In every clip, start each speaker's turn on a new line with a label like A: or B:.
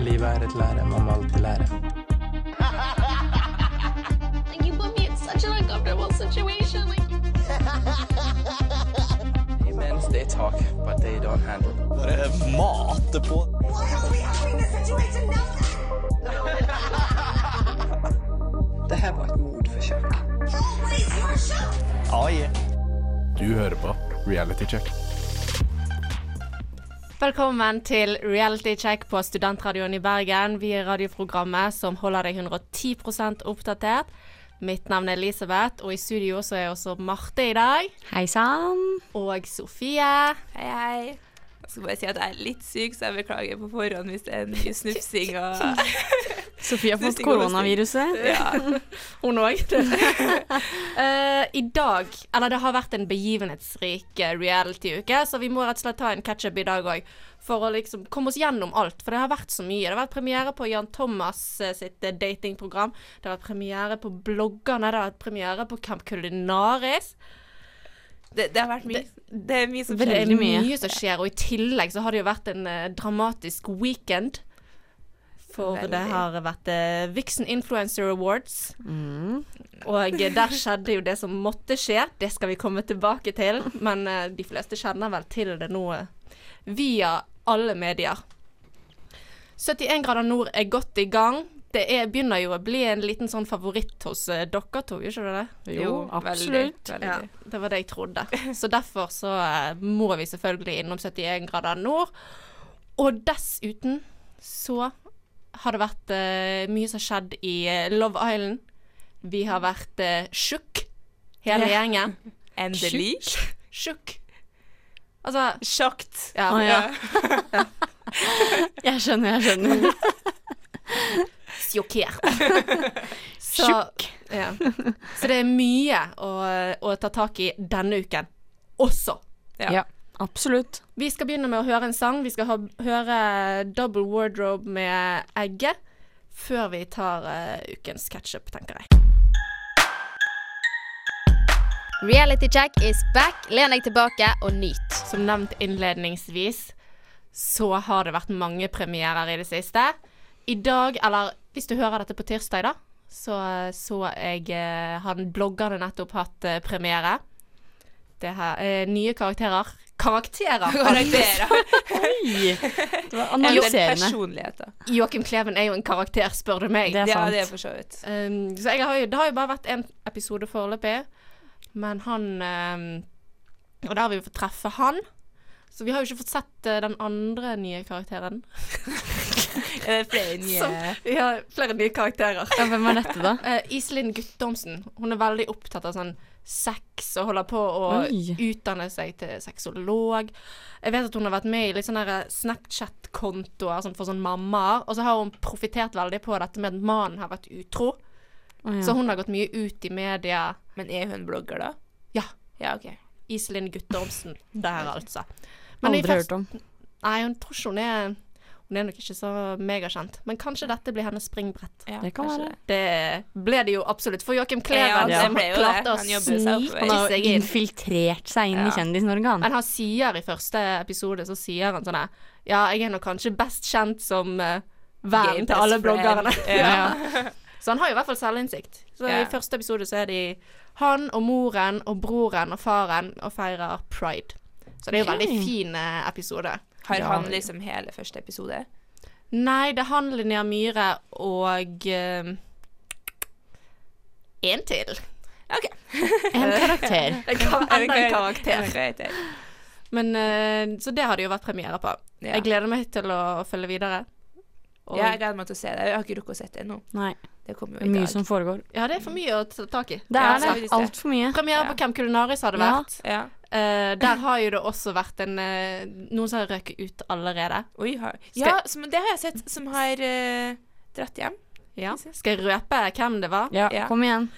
A: Livet er et lære, man må alltid lære.
B: Like you put me in such an uncomfortable situation. Like
A: Imens they talk, but they don't handle.
C: Bare mate på.
D: Why are we having this situation now?
E: Det her var et mordforsøk.
D: Always your show.
C: Ah, yeah.
F: Du hører på Reality Check.
G: Velkommen til Reality Check på Studentradioen i Bergen. Vi er radioprogrammet som holder deg 110 oppdatert. Mitt navn er Elisabeth, og i studio så er også Marte i dag.
H: Hei sann.
G: Og Sofie.
I: Hei, hei. Jeg skal bare si at jeg er litt syk, så jeg beklager på forhånd hvis det er mye snufsing og
H: Sofie har fått
I: Snusing og
H: koronaviruset.
I: ja.
G: Hun òg. Eh, I dag Eller det har vært en begivenhetsrik eh, reality-uke, så vi må rett og slett ta en catch-up i dag òg. For å liksom komme oss gjennom alt. For det har vært så mye. Det har vært premiere på Jan Thomas eh, sitt eh, datingprogram. Det har vært premiere på Bloggerne. Det har vært premiere på Camp Culinaris.
I: det, det har vært mye. Det er mye som
G: Det
I: skjer.
G: er
H: Veldig mye.
G: mye som skjer. Og i tillegg så har det jo vært en eh, dramatisk weekend. For det
I: Veldig.
G: har vært eh, Vixen Influencer Awards. Og eh, der skjedde jo det som måtte skje. Det skal vi komme tilbake til. Men eh, de fleste kjenner vel til det nå eh, via alle medier. 71 grader nord er godt i gang. Det er, begynner jo å bli en liten sånn favoritt hos eh, dere to, gjør ikke det det?
H: Jo, absolutt.
I: Veldig,
G: Ja,
I: veldig.
G: det var det jeg trodde. Så derfor så eh, må vi selvfølgelig innom 71 grader nord. Og dessuten så har det vært eh, mye som skjedd i eh, Love Island. Vi har vært uh, sjukk, hele gjengen.
I: Endelig.
G: Sjukk. Altså
I: Sjakt.
G: ja,
H: Å, ja. Jeg skjønner, jeg skjønner.
G: sjokkert. Så, ja. så det er mye å, å ta tak i denne uken også.
I: Ja.
H: Ja, absolutt.
G: Vi skal begynne med å høre en sang. Vi skal ha, høre Double Wardrobe med Egget før vi tar eh, ukens catch-up, tenker jeg.
J: Reality check is back. Len deg tilbake og nyt.
G: Som nevnt innledningsvis, så har det vært mange premierer i det siste. I dag, eller hvis du hører dette på tirsdag, da, så så jeg eh, han bloggerne nettopp hatt eh, premiere. Det her, eh, nye karakterer. Karakterer!
I: Karakterer.
H: Oi! Det var
I: En del
H: analyserende.
I: personligheter.
G: Joakim Kleven er jo en karakter, spør du meg.
H: Det er
I: Ja, det er
H: sant.
I: for så vidt.
G: Um, så jeg har jo, det har jo bare vært én episode foreløpig. Men han um, Og der har vi fått treffe han. Så vi har jo ikke fått sett uh, den andre nye karakteren.
I: Er det flere nye
G: Som- Vi har flere nye karakterer.
H: Ja, hvem var dette, da?
G: Uh, Iselin Guttormsen. Hun er veldig opptatt av sånn sex og holder på å
H: Oi.
G: utdanne seg til sexolog. Jeg vet at hun har vært med i litt sånne der eh, Snapchat-kontoer sånn for sånn mammaer. Og så har hun profittert veldig på dette med at mannen har vært utro.
H: Å, ja.
G: Så hun har gått mye ut i media.
I: Men er hun blogger, da?
G: Ja.
I: Ja, OK.
G: Iselin Guttormsen der, altså.
H: Aldri hørt om.
G: Nei, hun tror ikke hun er Hun er nok ikke så megakjent. Men kanskje dette blir hennes springbrett.
I: Ja,
H: Det kan
I: kanskje
H: være.
G: Det ble det jo absolutt. For Joakim
I: Ja,
G: Kleven
I: det
G: som
I: ble jo det.
G: klarte å
I: Han jobber seg oppover.
G: snike
H: Han har
G: seg
H: jo
G: inn.
H: infiltrert seg inn i Kjendis-Norge, han.
G: Men han sier i første episode, så sier han sånn her Ja, jeg er nok kanskje best kjent som uh, vennen
I: Gay
G: til alle
I: best
G: bloggerne.
I: friend.
G: Ja. Så han har jo i hvert fall selvinnsikt. Så
I: Ja.
G: i første episode så er de han og moren og broren og faren og feirer pride. Så det er jo veldig fin eh, episode.
I: Har han liksom hele første episode?
G: Nei, det er han, Linnea Myhre og eh, En til.
I: OK.
H: En karakter.
G: Enda en karakter.
I: karakter.
G: Men, eh, så det har det jo vært premiere på.
I: Ja.
G: Jeg gleder meg til å følge videre. Og,
I: Ja, jeg
G: ja,
I: gleder meg til å se det. Jeg har ikke rukket å se det ennå.
H: Nei,
I: Det kommer
H: det
I: jo
H: er
I: i
H: mye
I: dag.
H: som foregår.
G: det er for mye å ta tak i.
H: Det
I: Oh Ja,
H: er det.
I: faktisk det.
H: Altfor mye.
G: Premiere på Camp Culinaris har det
H: Ja.
G: vært.
I: Ja.
G: Eh, der har jo det også vært en eh, Noen som har røket ut allerede.
I: Oi, har Ja, som, det har jeg sett, som har eh, dratt hjem.
G: Ja. Skal jeg røpe hvem det var?
H: Ja,
I: Ja.
H: kom igjen.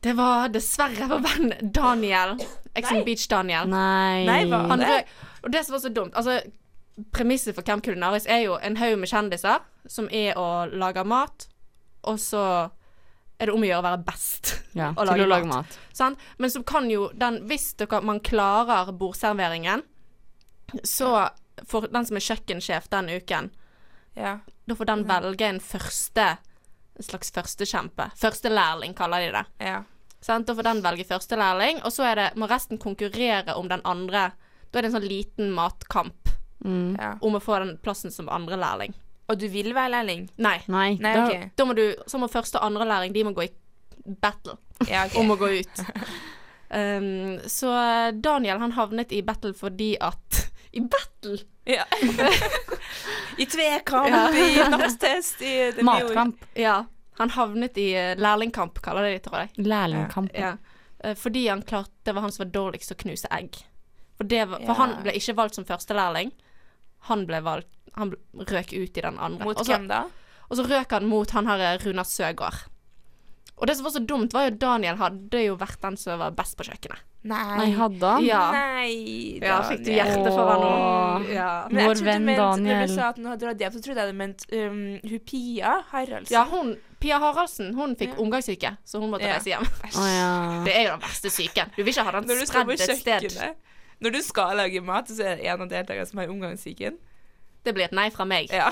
G: Det var dessverre vår venn Daniel. Exon Beach-Daniel.
H: Nei.
I: Nei, hva?
G: Han
I: Det-
G: røk, og det som var så dumt Altså, premisset for Camp Culinaris er jo en haug med kjendiser som er å lage mat, og så er det om å gjøre å være best.
H: Ja,
G: Å
H: til
G: lage
H: å lage
G: mat.
H: mat.
G: Sant? Men så kan jo den Hvis dere, man klarer bordserveringen, så får den som er kjøkkensjef den uken
I: Ja.
G: Da
H: Mm.
G: får den velge en første en slags førstekjempe. Førstelærling, kaller de det.
I: Ja.
G: Sant? Da får den velge førstelærling, og så er det, må resten konkurrere om den andre. Da er det en sånn liten matkamp
I: ja.
G: om å få den plassen som andre lærling.
I: Og du vil være lærling?
G: Nei.
H: Nei,
I: Nei,
H: da,
I: OK.
G: Da må du, så må første og andre læring, de må gå i battle
I: Ja, ok.
G: om å gå ut. Um, så Daniel han havnet i battle fordi at I battle?
I: Ja. I tvekamp,
G: Ja.
I: i nattest, i det blir jo-
H: Matkamp.
G: Ja. Han havnet i eh, lærlingkamp, kaller de det, tror jeg.
H: Lærlingkamp.
G: Ja. Eh, Fordi han klarte Det var han som var dårligst til å knuse egg. For, det var,
I: Ja.
G: for han ble ikke valgt som førstelærling. Han ble valgt Han ble- røk ut i den andre.
I: Mot
G: og, så,
I: hvem da?
G: og så røk han mot han her eh, Runar Søgaard. Og det som var så dumt, var jo Daniel hadde jo vært den som var best på kjøkkenet.
I: Nei.
H: Nei, hadde han?
G: Ja.
I: Nei,
G: Ja, fikk du
I: Daniel.
G: hjerte for hva nå?
H: Åh.
G: Ja.
I: Men jeg
H: Vår
I: trodde du
H: venn
I: mente, Når du
H: Daniel.
I: sa at hun hadde dratt hjem, så trodde jeg du mente um, hun Pia Haraldsen.
G: ja, hun Pia Haraldsen, hun fikk
I: Ja.
G: omgangssyke, så hun måtte
I: Ja.
G: reise hjem.
H: Å ja.
G: Det er jo den verste syken. Du vil ikke ha den
I: Når du skal
G: spredd
I: på
G: et sted.
I: kjøkkenet Når du skal lage mat, så er det en av deltakerne som har omgangssyken.
G: Det blir et nei fra meg.
I: Ja.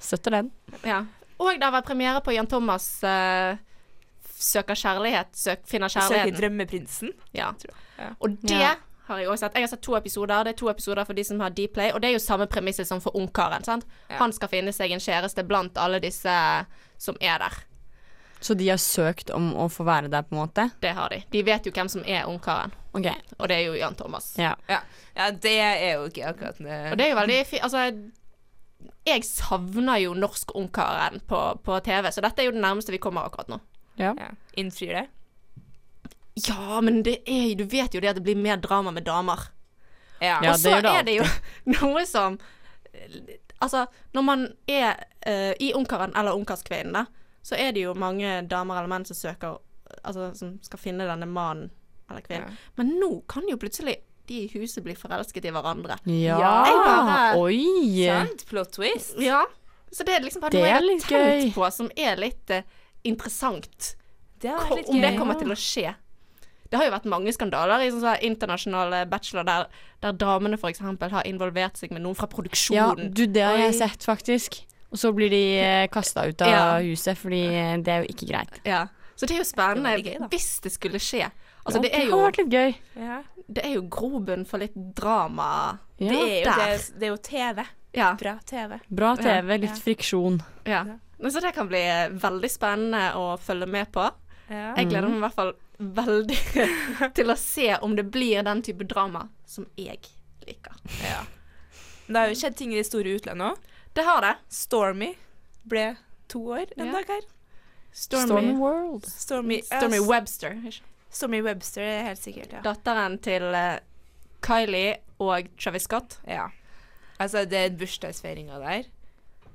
H: Støtter den.
G: Ja. Og det har vært premiere på Jan Thomas eh, Søker kjærlighet, søk, finner
I: Søker
G: kjærligheten.
I: drømmeprinsen.
G: Ja.
I: Ja.
G: Og det
H: Ja.
G: har jeg også sett. Jeg har sett to episoder. Det er to episoder for de som har Dplay, og det er jo samme premisset som for Ungkaren. sant?
I: Ja.
G: Han skal finne seg en kjæreste blant alle disse som er der.
H: Så de har søkt om å få være der, på en måte?
G: Det har de. De vet jo hvem som er Ungkaren,
H: OK.
G: og det er jo Jan Thomas.
H: Ja.
I: Ja. ja, det er jo ikke akkurat noe-
G: Og det er jo veldig fint. Altså, jeg savner jo norsk Ungkaren på, på TV, så dette er jo det nærmeste vi kommer akkurat nå.
I: ja. Innfrir det.
G: Ja, men det er jo Du vet jo det at det blir mer drama med damer.
I: Ja.
H: Ja.
G: og så
H: det gjør det
G: er det jo noe som Altså, når man er eh, i Ungkaren eller Ungkarskvinnen, da, så er det jo mange damer eller menn som søker Altså som skal finne denne mannen eller kvinnen. Men nå kan jo plutselig de i huset bli forelsket i hverandre.
H: Ja!
G: Jeg bare-
H: Oi!
I: Sant? Plot twist.
G: Ja. Så det er liksom bare
H: Det
G: noe
H: er
G: jeg har
H: litt
G: tenkt
H: gøy.
G: på som er litt eh, interessant.
I: Det har
G: Ko-
I: vært litt
G: om det
I: gøy.
G: kommer til å skje. Det har jo vært mange skandaler i sånn sånn internasjonale bachelor der, der damene f.eks. har involvert seg med noen fra
H: Ja,
G: produksjonen.
H: du, det har
G: Oi.
H: jeg sett, faktisk. Og så blir de eh, kasta ut av
G: Ja.
H: huset, fordi eh, det er jo ikke greit.
G: Ja. Så det er jo spennende
I: Det er veldig gøy, da.
G: hvis det skulle skje. Altså, det,
H: Ja,
G: er
H: har
G: jo,
H: vært litt gøy.
I: Ja.
G: det er jo grobunn for litt drama.
H: Ja.
I: Det, er jo
G: Der.
I: det, det er jo TV.
G: Ja.
I: Bra TV.
H: Bra TV, litt friksjon.
G: ja. Men så det kan bli veldig spennende å følge med på.
I: Ja.
G: Jeg gleder meg i hvert fall veldig til å se om det blir den type drama som jeg liker.
I: Det har jo skjedd ting i det store utlandet òg.
G: Det har det.
I: Stormy ble to år en
G: Ja.
I: dag her.
H: Storm
G: Stormy,
H: World.
I: Stormy,
G: Stormy
I: ja,
G: Webster. Ikke?
I: Stormy Webster er helt sikkert, ja.
G: Datteren til eh, Kylie og Travis Scott.
I: ja. Altså, det er bursdagsfeiringa der.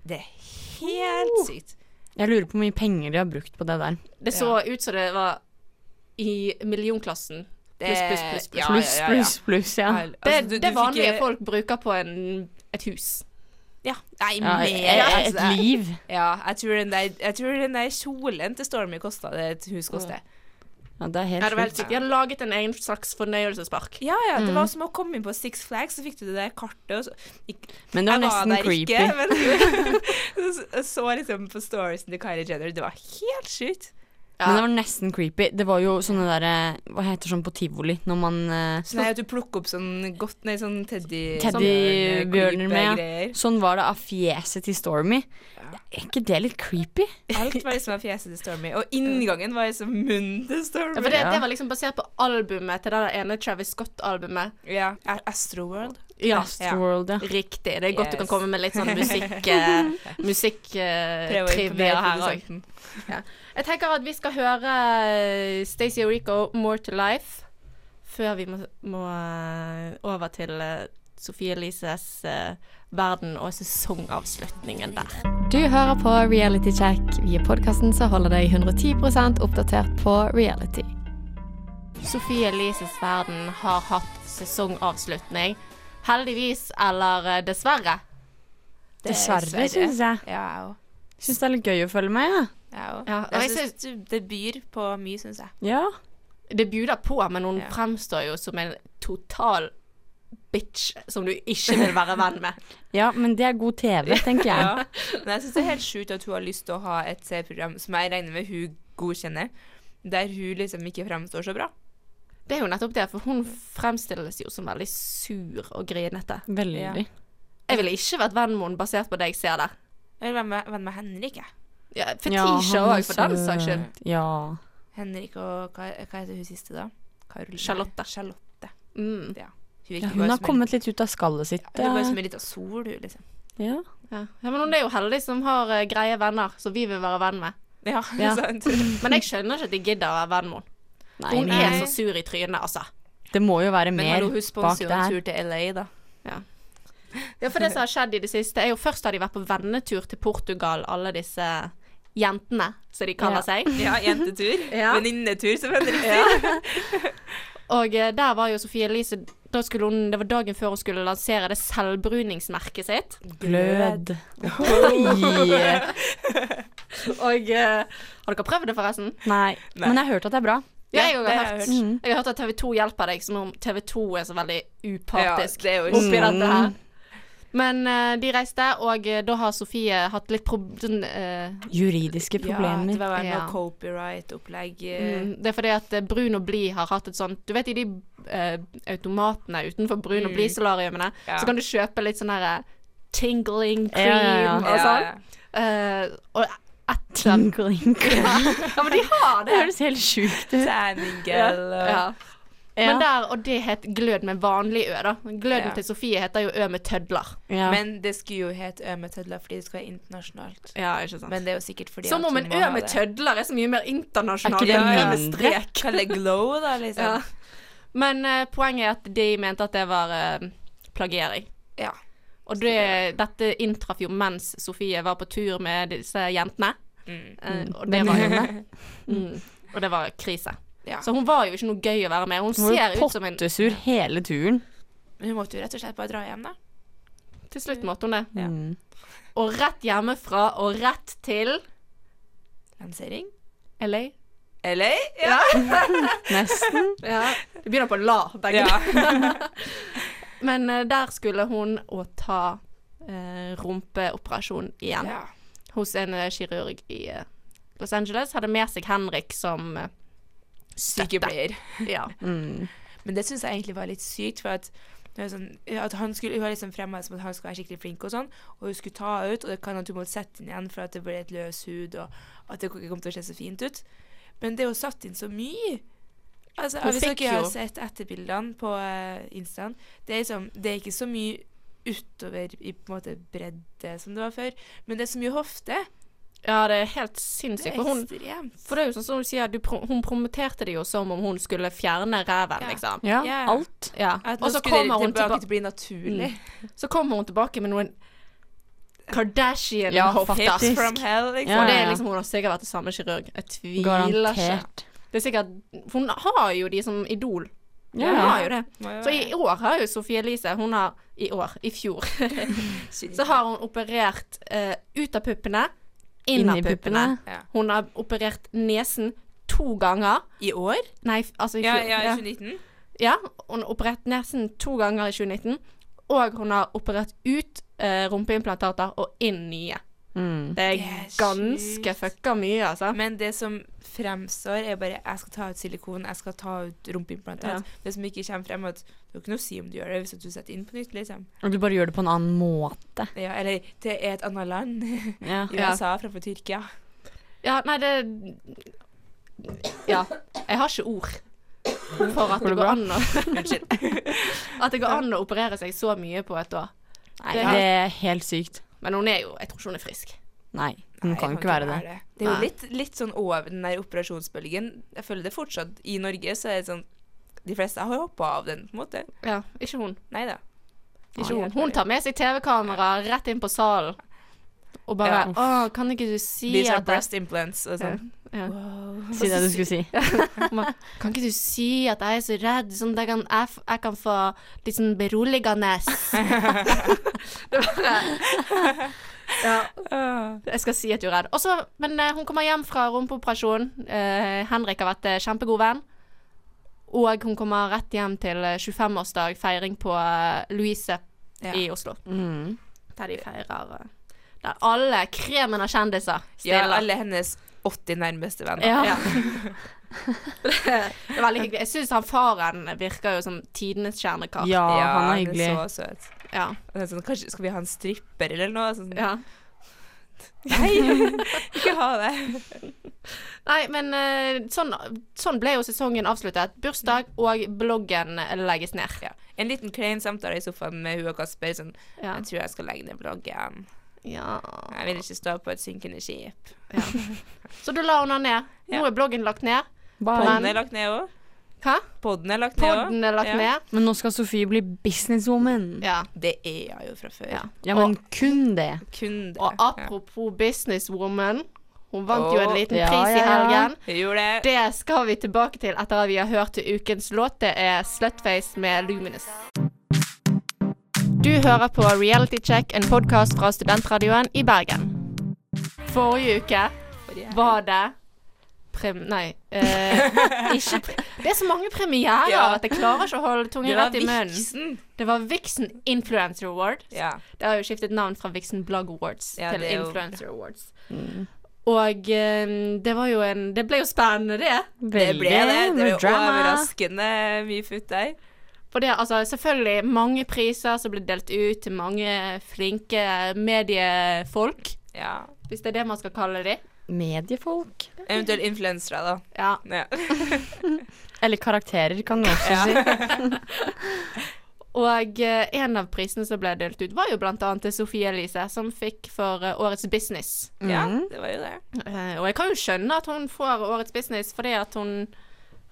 I: Det er helt sykt.
H: Jeg lurer på hvor mye penger de har brukt på det der.
G: Det så ut som det var i millionklassen.
I: Det,
G: Pluss, pluss, pluss, pluss.
I: Eh, Ja,
H: Pluss,
I: ja, ja, ja.
H: pluss, pluss, ja.
I: Al-
G: Det,
I: altså, du-
G: det
I: du
G: vanlige
I: fikk, eh,
G: folk bruker på en, et hus.
I: Ja. Nei,
H: ja
I: mer.
H: et,
I: altså,
H: et liv.
I: Ja, jeg tror, den der, jeg tror den der kjolen til Stormy kosta det et hus
H: Ja, det er
I: koster.
G: Ja, det
H: helt
G: var helt
H: sjukt.
G: sykt. De har laget en egen slags fornøyelsespark.
I: Ja, ja, det var som å komme inn på Six Flags, så fikk du Mm. det der kartet, og så Ikk-
H: Men det var
I: Jeg var
H: nesten
I: der
H: creepy.
I: Ikke, men så, så liksom på storiesen til Kylie Jenner, det var helt sjukt.
H: Men det var nesten creepy. Det var jo sånne derre Hva heter sånn på tivoli når man eh,
I: Nei, at du plukker opp sånn godt Nei, sånn teddy eh,
H: Teddybjørner med ja.
I: greier.
H: Sånn var det av fjeset til Stormy. Er ikke det litt creepy?
I: Alt var liksom av fjeset til Stormy, og inngangen var liksom munnen til
G: Ja,
I: Stormy.
G: for det, det var liksom basert på albumet til det der ene Travis Scott-albumet.
I: Ja. A- Astroworld.
G: Ja.
H: Astroworld, ja.
G: Riktig. Det er godt du kan
I: Yes.
G: komme med litt sånn musikk eh, musikktrivia
I: Prøv å imponere
G: her òg.
I: produsenten.
G: Jeg tenker at vi skal høre eh, Stacey og Rico 'More to Life' før vi må, må eh, over til eh, Sofie Elises eh, verden og sesongavslutningen der.
J: Du hører på Reality Check. Vi er podkasten som holder deg 110 oppdatert på reality.
G: Sofie Elises verden har hatt sesongavslutning. Heldigvis eller eh, dessverre.
H: Dessverre, syns jeg.
I: Ja, jeg òg.
H: Syns det er litt gøy å følge med, jeg.
I: Jeg òg.
G: Ja, og
I: Jeg
G: jeg
I: synes du- det byr på mye, syns jeg.
H: Ja.
G: Det bjuder på, men hun
I: Ja.
G: fremstår jo som en total bitch som du ikke vil være venn med.
H: Ja, men det er god TV, tenker jeg.
I: Ja. Men jeg syns det er helt sjukt at hun har lyst til å ha et TV-program som jeg regner med hun godkjenner, der hun liksom ikke fremstår så bra.
G: Det er jo nettopp det, for hun fremstilles jo som veldig sur og grinete.
H: Veldig.
G: Jeg ville ikke vært venn med henne basert på det jeg ser der.
I: Jeg vil være med, venn med Henrik, jeg.
G: Ja,
H: Ja,
G: Fetisha
H: han er
G: òg, for den
H: søt.
G: saks skyld.
H: Ja.
I: Henrik og hva, hva heter hun siste, da? Karol-
G: Charlotte.
I: Nei, Charlotte.
G: Mm.
I: Ja. Hun,
H: ja. Hun har kommet litt ut av skallet sitt.
I: Det er bare
H: eh,
I: som en liten sol, hun, liksom.
H: Ja.
G: Ja. ja, Men hun er jo heldig som har eh, greie venner som vi vil være venn med.
I: Ja,
H: Ja.
I: sant.
G: Men jeg skjønner ikke at de gidder å være venn med henne.
H: Nei,
G: Hun
H: men
G: er så sur i trynet, altså.
H: det må jo være
I: Men
H: mer
I: hallo, hun
H: bak
I: sponser jo en
H: der.
I: tur til LA, da.
G: Ja, for det som har skjedd i det siste, er jo først har de vært på vennetur til Portugal, alle disse jentene, som de
H: Ja.
G: kaller seg.
I: Ja, jentetur.
G: Ja.
I: Venninnetur, som Henrik sier.
G: Og eh, der var jo Sofie Elise da skulle hun, Det var dagen før hun skulle lansere det selvbruningsmerket sitt.
H: Glød. Oi!
G: Og eh, Har dere prøvd det, forresten?
H: Nei. Men jeg har hørt at det er bra.
G: Ja, jeg
I: Ja,
G: har
I: det
G: hørt. Mm.
I: har jeg hørt.
G: Jeg har hørt at TV 2 hjelper deg, som om TV 2 er så veldig
I: Ja,
G: upartisk
I: det er jo ikke
G: oppi dette her. Mm. Men eh, de reiste, og eh, da har Sofie hatt litt prob... sånn, eh,
H: Juridiske
I: Ja, det
H: problemer.
I: var vel noe
G: Ja.
I: copyright-opplegg. eh,
G: mm, det er fordi at eh, Brun og Bli har hatt et sånt Du vet i de eh, automatene utenfor Brun og Bli-solariumene,
I: Ja.
G: så kan du kjøpe litt sånn herre tingling
H: Ja,
G: cream
H: ja, ja.
G: og
I: Ja,
G: sånn.
I: ja.
G: Eh, og etter
H: Tinkling.
G: Ja, men de har
H: Det
G: det!
H: høres helt sjukt ut.
I: Tanning girl. og-
G: Ja.
H: Ja.
G: Men der, og det het glød med vanlig ø, da. Gløden
I: Ja.
G: til Sofie heter jo ø med tødler.
H: Ja.
I: Men det skulle jo hete Ø med tødler fordi det skal være internasjonalt.
G: Ja, ikke sant.
I: Men det er jo sikkert fordi
G: Som
I: at
G: om
I: hun
G: en
I: må
G: ø
I: ha
G: med
I: det.
G: tødler er så mye mer
H: Er
G: internasjonal
H: ikke det
G: enn en ø med
H: mindre?
G: strek.
I: Kall det glow, da, liksom.
G: Ja. Men eh, poenget er at de mente at det var eh, plagiering.
I: Ja.
G: Og det, dette inntraff jo mens Sofie var på tur med disse jentene.
I: Mm.
G: Eh, og, det var jo, mm, og det var krise.
I: Ja.
G: Så hun var jo ikke noe gøy å være med. Hun
H: Hun var
G: ser
H: jo
G: ut som en
H: pottesur hele turen.
I: Men hun måtte jo rett og slett bare dra hjem, da.
G: Til slutt måtte hun det.
I: Ja.
H: Mm.
G: Og rett hjemmefra og rett til
I: Lansering.
G: LA.
I: Eller? Ja.
H: Nesten.
G: Ja. Det begynner på la, begge
I: ja.
G: Men eh, der skulle hun å ta eh, rumpeoperasjon igjen
I: ja.
G: hos en eh, kirurg i eh, Los Angeles. Hadde med seg Henrik som eh,
I: Sykepleier.
G: støtte. Ja.
H: Mm.
I: Men det syns jeg egentlig var litt sykt, for at det er sånn, at han skulle, Hun har liksom fremma det som at han skulle være skikkelig flink, og sånn, og hun skulle ta ut, og det kan at hun måtte sette inn igjen for at det ble et løs hud, og at det ikke kom til å se så fint ut. Men det er jo satt inn så mye. Altså,
G: Hun
I: Hvis
G: fikk
I: dere har
G: jo-
I: sett etterbildene på eh, Instaen, det er, liksom, det er ikke så mye utover i på en måte bredde som det var før, men det er så mye hofte.
G: ja, det er helt
I: Det
G: sinnssykt.
I: er
G: For, hun,
I: ekstremt.
G: for det er jo sånn som du sier, du pro hun promoterte det jo som om hun skulle fjerne ræven,
I: Ja.
G: liksom.
H: Ja,
I: Ja.
H: alt.
G: Ja.
I: At nå
G: Og så
I: skulle det
G: kommer, hun tilba Mm.
I: tilbake til å bli naturlig.
G: så kommer hun tilbake med noen
H: Ja,
G: Kardashian-hofter.
I: Hips
H: faktisk.
I: from hell, liksom.
H: Ja,
G: og det
H: ja.
G: er liksom, hun har sikkert vært hos samme kirurg. Jeg tviler ikke.
H: Garantert.
G: Det er sikkert, for hun har jo de som idol. Hun
H: Ja.
G: har jo det.
I: Må jo
G: Så
I: være.
G: i år har jo Sofie Elise Hun har I år. I fjor. så har hun operert eh, ut av puppene, inn
H: Inni
G: av puppene.
H: puppene.
I: Ja.
G: Hun har operert nesen to ganger.
I: I år?
G: Nei, f- altså i
I: Ja,
G: fjor.
I: ja, i
G: ja.
I: 2019.
G: Ja, hun har operert nesen to ganger i 2019. Og hun har operert ut eh, rumpeimplantater og inn nye.
H: Mm.
G: Det er
I: Det er
G: ganske
I: sjukt.
G: fucka mye, altså.
I: Men det som fremstår, er bare jeg skal ta ut silikon, jeg skal ta ut rumpeimplantat.
G: Ja.
I: Det som ikke kommer frem, er at det er ikke noe å si om du gjør det hvis at du setter inn på nytt, liksom.
H: Og du bare gjør det på en annen måte.
I: Ja, eller det er et annet land.
H: Ja.
I: I
G: Ja.
I: USA framfor Tyrkia.
G: Ja, nei, det Ja. Jeg har ikke ord for at det går an å
I: Unnskyld.
G: At det går an å operere seg så mye på et år.
H: Nei,
G: Det-
H: det er helt sykt.
G: Men hun er jo Jeg tror ikke hun er frisk.
H: Nei, hun
I: Nei,
H: kan jo ikke være det.
I: Det er jo
G: Nei.
I: litt, litt sånn over den der operasjonsbølgen. Jeg føler det fortsatt I Norge så er det sånn De fleste har hoppa av den, på en måte.
G: Ja, ikke hun.
I: Nei da.
G: Ikke hun. hun tar med seg TV-kamera rett inn på salen og bare
I: Ja.
G: Å, kan ikke du si
I: These are
G: at jeg-
I: sånn breast implants og sånn.
G: Ja.
I: Wow.
H: Si det du skulle si.
G: Hun bare, Kan ikke du si at jeg er så redd, sånn at jeg kan, jeg, f- jeg kan få litt sånn beroligende Det er bare- Ja.
I: Ah,
G: Jeg skal si at du er redd. Og så- men eh, hun kommer hjem fra rumpeoperasjon. Eh, Henrik har vært eh, kjempegod venn. Og hun kommer rett hjem til eh, 25-årsdag, feiring på eh, Louise
I: Ja.
G: i Oslo.
H: Mm.
G: Der de feirer eh, Der alle kremen av kjendiser
I: Ja,
G: stiller.
I: alle hennes 80 nærmeste venner.
G: Ja. det er veldig hyggelig. Jeg syns han faren virker jo som tidenes kjernekar.
H: Ja,
I: Ja,
H: han er hyggelig.
I: Han er så søt.
G: Ja.
I: Og det er sånn, kanskje skal vi ha en stripper eller noe? Sånn,
G: ja.
I: Nei, ikke ha det.
G: Nei, men eh, sånn, sånn ble jo sesongen avsluttet. Bursdag og bloggen legges ned.
I: Ja. En liten klein samtale i sofaen med hun og Kasper. Sånn,
G: Ja.
I: Jeg tror jeg skal legge ned bloggen.
G: Ja.
I: Jeg vil ikke stå på et synkende skip.
G: Så da la hun den ned. Nå
I: Ja.
G: er bloggen lagt ned.
I: Podden
G: Men-
I: er lagt ned òg.
G: Hva?
I: Podden er lagt ned også.
G: Podden er lagt
I: ja.
G: ned.
H: Men nå skal Sofie bli businesswoman.
G: Ja.
I: Det er jeg jo fra før.
G: Ja.
H: Ja, men kun det.
I: Kun det.
G: Og apropos businesswoman. Hun vant jo en
I: Åh,
G: liten
H: ja, ja,
G: pris i
H: ja.
G: helgen.
I: Ja. Jeg gjorde det.
G: Det skal vi tilbake til etter at vi har hørt ukens låt. Det er Slutface med Luminous. Du hører på Reality Check, en podkast fra studentradioen i Bergen. Forrige uke var det prem... Nei. Eh, ikke pre det er så mange premierer
I: Ja.
G: at jeg klarer ikke å holde tungen
I: Det var
G: rett i munnen.
I: Vixen.
G: Det var Vixen Influencer Award.
I: Ja.
G: Det har jo skiftet navn fra Vixen Blog Awards
I: Ja,
G: til
I: det er jo-
G: Influencer Awards. Og eh, det var jo en Det ble jo spennende, det.
I: Det ble det. Det
H: med
I: ble overraskende mye futt der.
G: For det, altså, selvfølgelig mange priser som blir delt ut til mange flinke mediefolk,
I: Ja.
G: hvis det er det man skal kalle de.
H: Mediefolk.
I: Eventuelt influensere, da.
G: Ja.
I: Ja.
H: Eller karakterer, kan du også si.
G: Og eh, en av prisene som ble delt ut, var jo blant annet til Sofie Elise, som fikk for eh, Årets business.
I: ja,
G: Mhm.
I: det var jo det.
G: Eh, og jeg kan jo skjønne at hun får Årets business, fordi at hun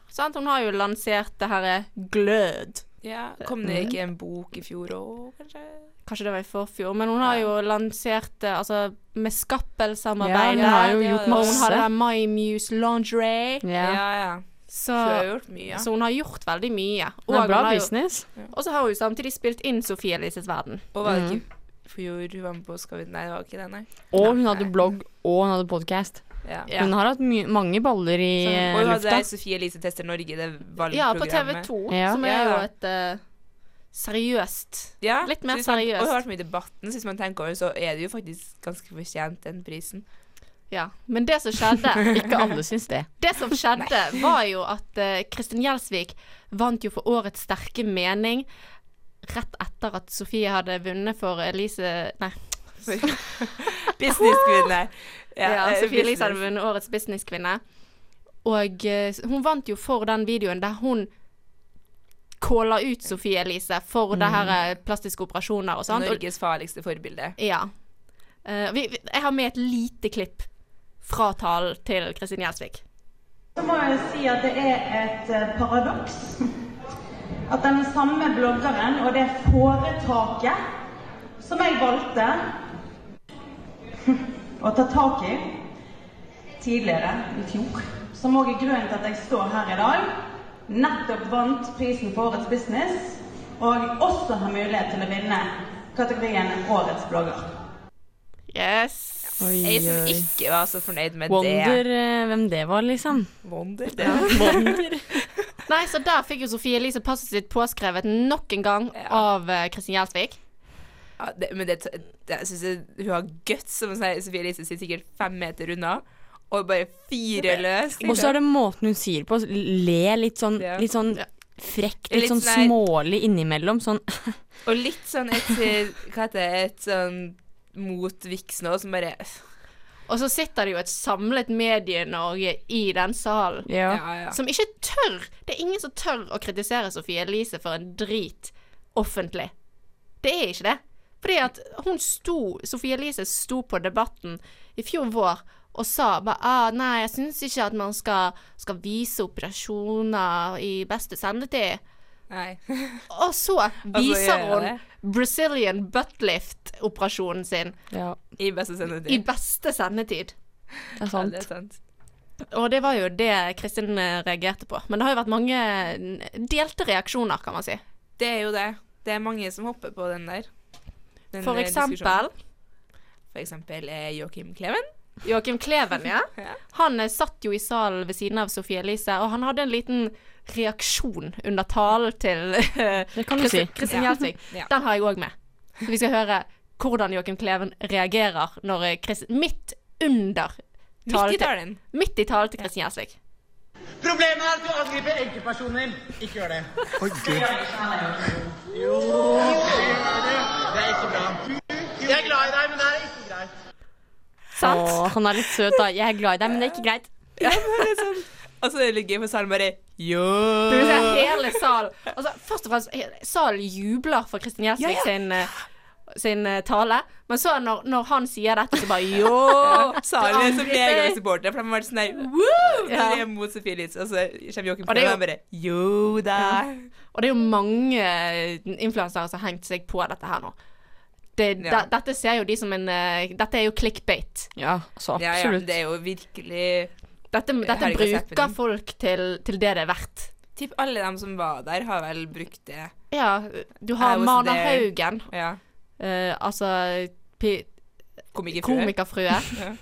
G: sant, Hun har jo lansert det herre glød.
I: Ja, Kom
G: Mhm.
I: det ikke en bok i fjor òg, kanskje?
G: Kanskje det var i forfjor, men hun har jo lansert eh, altså, med
H: Ja,
G: Skappel-samarbeid.
H: hun har jo
I: det
H: gjort
I: var-
G: og hun har det
H: masse.
G: der My Muse Lingerie.
H: Ja.
I: ja. ja.
G: Så,
I: Du har gjort mye.
G: så hun har gjort veldig
H: Det
G: mye.
H: er bra
G: hun har jo,
H: business.
G: og så har hun jo samtidig spilt inn Sofie Elises verden.
I: Og var det
H: Mm.
I: ikke i fjor hun var med på Skal vi Nei, det var ikke det, nei.
H: Og hun hadde blogg, og hun hadde podkast.
I: Ja.
G: Ja.
H: Hun har hatt my mange baller i eh,
I: Og hun hadde
H: lufta.
I: Sofie Elise tester Norge, det
G: Ja, på TV
I: valgprogrammet.
G: 2,
H: Ja.
G: som
I: Ja,
G: er jo
I: da.
G: et eh, seriøst
I: Ja,
G: Litt mer
I: så hvis man-
G: seriøst.
I: Og hun har vært med i debatten, så hvis man tenker over det, så er det jo faktisk ganske fortjent, den prisen.
G: Ja. Men det som skjedde
H: Ikke alle syns det.
G: Det som skjedde, var jo at eh, Kristin Gjelsvik vant jo for årets sterke mening rett etter at Sofie hadde vunnet for Elise Nei,
I: Businesskvinne.
G: ja,
I: eh,
G: Sofie Elise hadde
I: business.
G: vunnet årets businesskvinne. Og eh, hun vant jo for den videoen der hun caller ut Sofie Elise for det her
I: Mm.
G: eh, plastiske operasjoner og sånt. Og,
I: Norges farligste forbilde.
G: ja. Eh, vi, vi, jeg har med et lite klipp fra talen til Kristin Gjelsvik.
K: Så må jeg jo si at det er et eh, paradoks at den samme bloggeren og det foretaket som jeg valgte å ta tak i tidligere i fjor, som òg er grunnen til at jeg står her i dag, nettopp vant prisen for Årets business og også har mulighet til å vinne kategorien Årets blogger.
G: Yes.
H: Oi,
I: Jeg som
H: oi.
I: ikke var så fornøyd med det.
H: Wonder eh, hvem det var, liksom.
I: Wonder. Det.
G: Nei, så der fikk jo Sofie Elise passet sitt påskrevet nok en gang
I: Ja.
G: av eh, Kristin Gjelsvik.
I: Ja, det, men det, det, jeg synes jeg- hun har guts, som sier- Sofie Elise sitter sikkert fem meter unna, og bare fire løs. liksom.
H: Og så er det måten hun sier på. Le litt sånn,
I: Ja.
H: litt sånn frekt,
I: Litt
H: litt sånn
I: sånn der-
H: smålig innimellom. Sånn
I: Og litt sånn et, hva heter det, et sånn mot Vixen også, som bare
G: Og så sitter det jo et samlet Medie-Norge i den salen.
I: Ja,
H: Ja.
I: ja.
G: Som ikke tør Det er ingen som tør å kritisere Sofie Elise for en drit offentlig. Det er ikke det. Fordi at hun sto Sofie Elise sto på Debatten i fjor vår og sa bare ah, 'Nei, jeg syns ikke at man skal, skal vise operasjoner i beste sendetid'.
I: Nei.
G: Og så viser
I: gjør Altså, jeg det.
G: hun Brazilian buttlift-operasjonen sin
H: ja,
I: I beste sendetid.
G: i beste sendetid.
H: det er
I: Ja,
H: sant.
I: det er sant.
G: Og det var jo det Kristin eh, reagerte på. Men det har jo vært mange eh, delte reaksjoner, kan man si.
I: Det er jo det. Det er mange som hopper på den der. Den
G: For
I: eh, diskusjonen.
G: eksempel
I: For eksempel eh, Joakim Kleven.
G: Joakim Kleven, ja. Han eh, satt jo i salen ved siden av Sofie Elise, og han hadde en liten reaksjon under talen til eh,
H: Det kan du
G: Kristin-
H: si.
G: Kristin
I: Ja.
G: Gjelsvik.
I: Ja.
G: Den har jeg òg med. Så vi skal høre hvordan Joakim Kleven reagerer når eh, Chris, midt under talen
I: Midt i
G: til-
I: talen.
G: Midt i talen til Kristin Gjelsvik.
K: Problemet er at du angriper enkeltpersoner. Ikke gjør det. Jeg er glad i deg, men det er ikke greit.
G: Sant?
H: Åh, han er litt søt, da. Jeg er glad i deg, men det er ikke greit.
I: Og så er det litt gøy, for salen bare Yo!
G: Du vil se hele salen. Altså, først og fremst, he- salen jubler for Kristin Gjelsvik
I: Ja, ja.
G: sin, eh, sin eh, tale. Men så når, når han sier dette, så bare Yo!
I: Salen er som
G: Angriper.
I: jeg er supportere, for de har vært sånn der Woo!
G: Ja.
I: Det er mot Sofie Elise. Og så kommer
G: Og det
I: Joakim
G: er
I: Kleven og bare Yo da!
G: Og det er jo mange influensere som har hengt seg på dette her nå. Det, de,
I: Ja.
G: dette ser jo de som en eh, Dette er jo clickbait.
H: Ja, altså
I: Ja, ja,
H: absolutt.
I: det er jo virkelig
G: Dette, dette
I: Herregud,
G: bruker
I: Zeppelin.
G: folk til, til det det er verdt.
I: Typ alle dem som var der, har vel brukt det.
G: Ja, du har
I: I was
G: Mana
I: there.
G: Haugen,
I: Ja.
G: eh, altså pi-
I: Komikerfrue.
G: komikerfrue.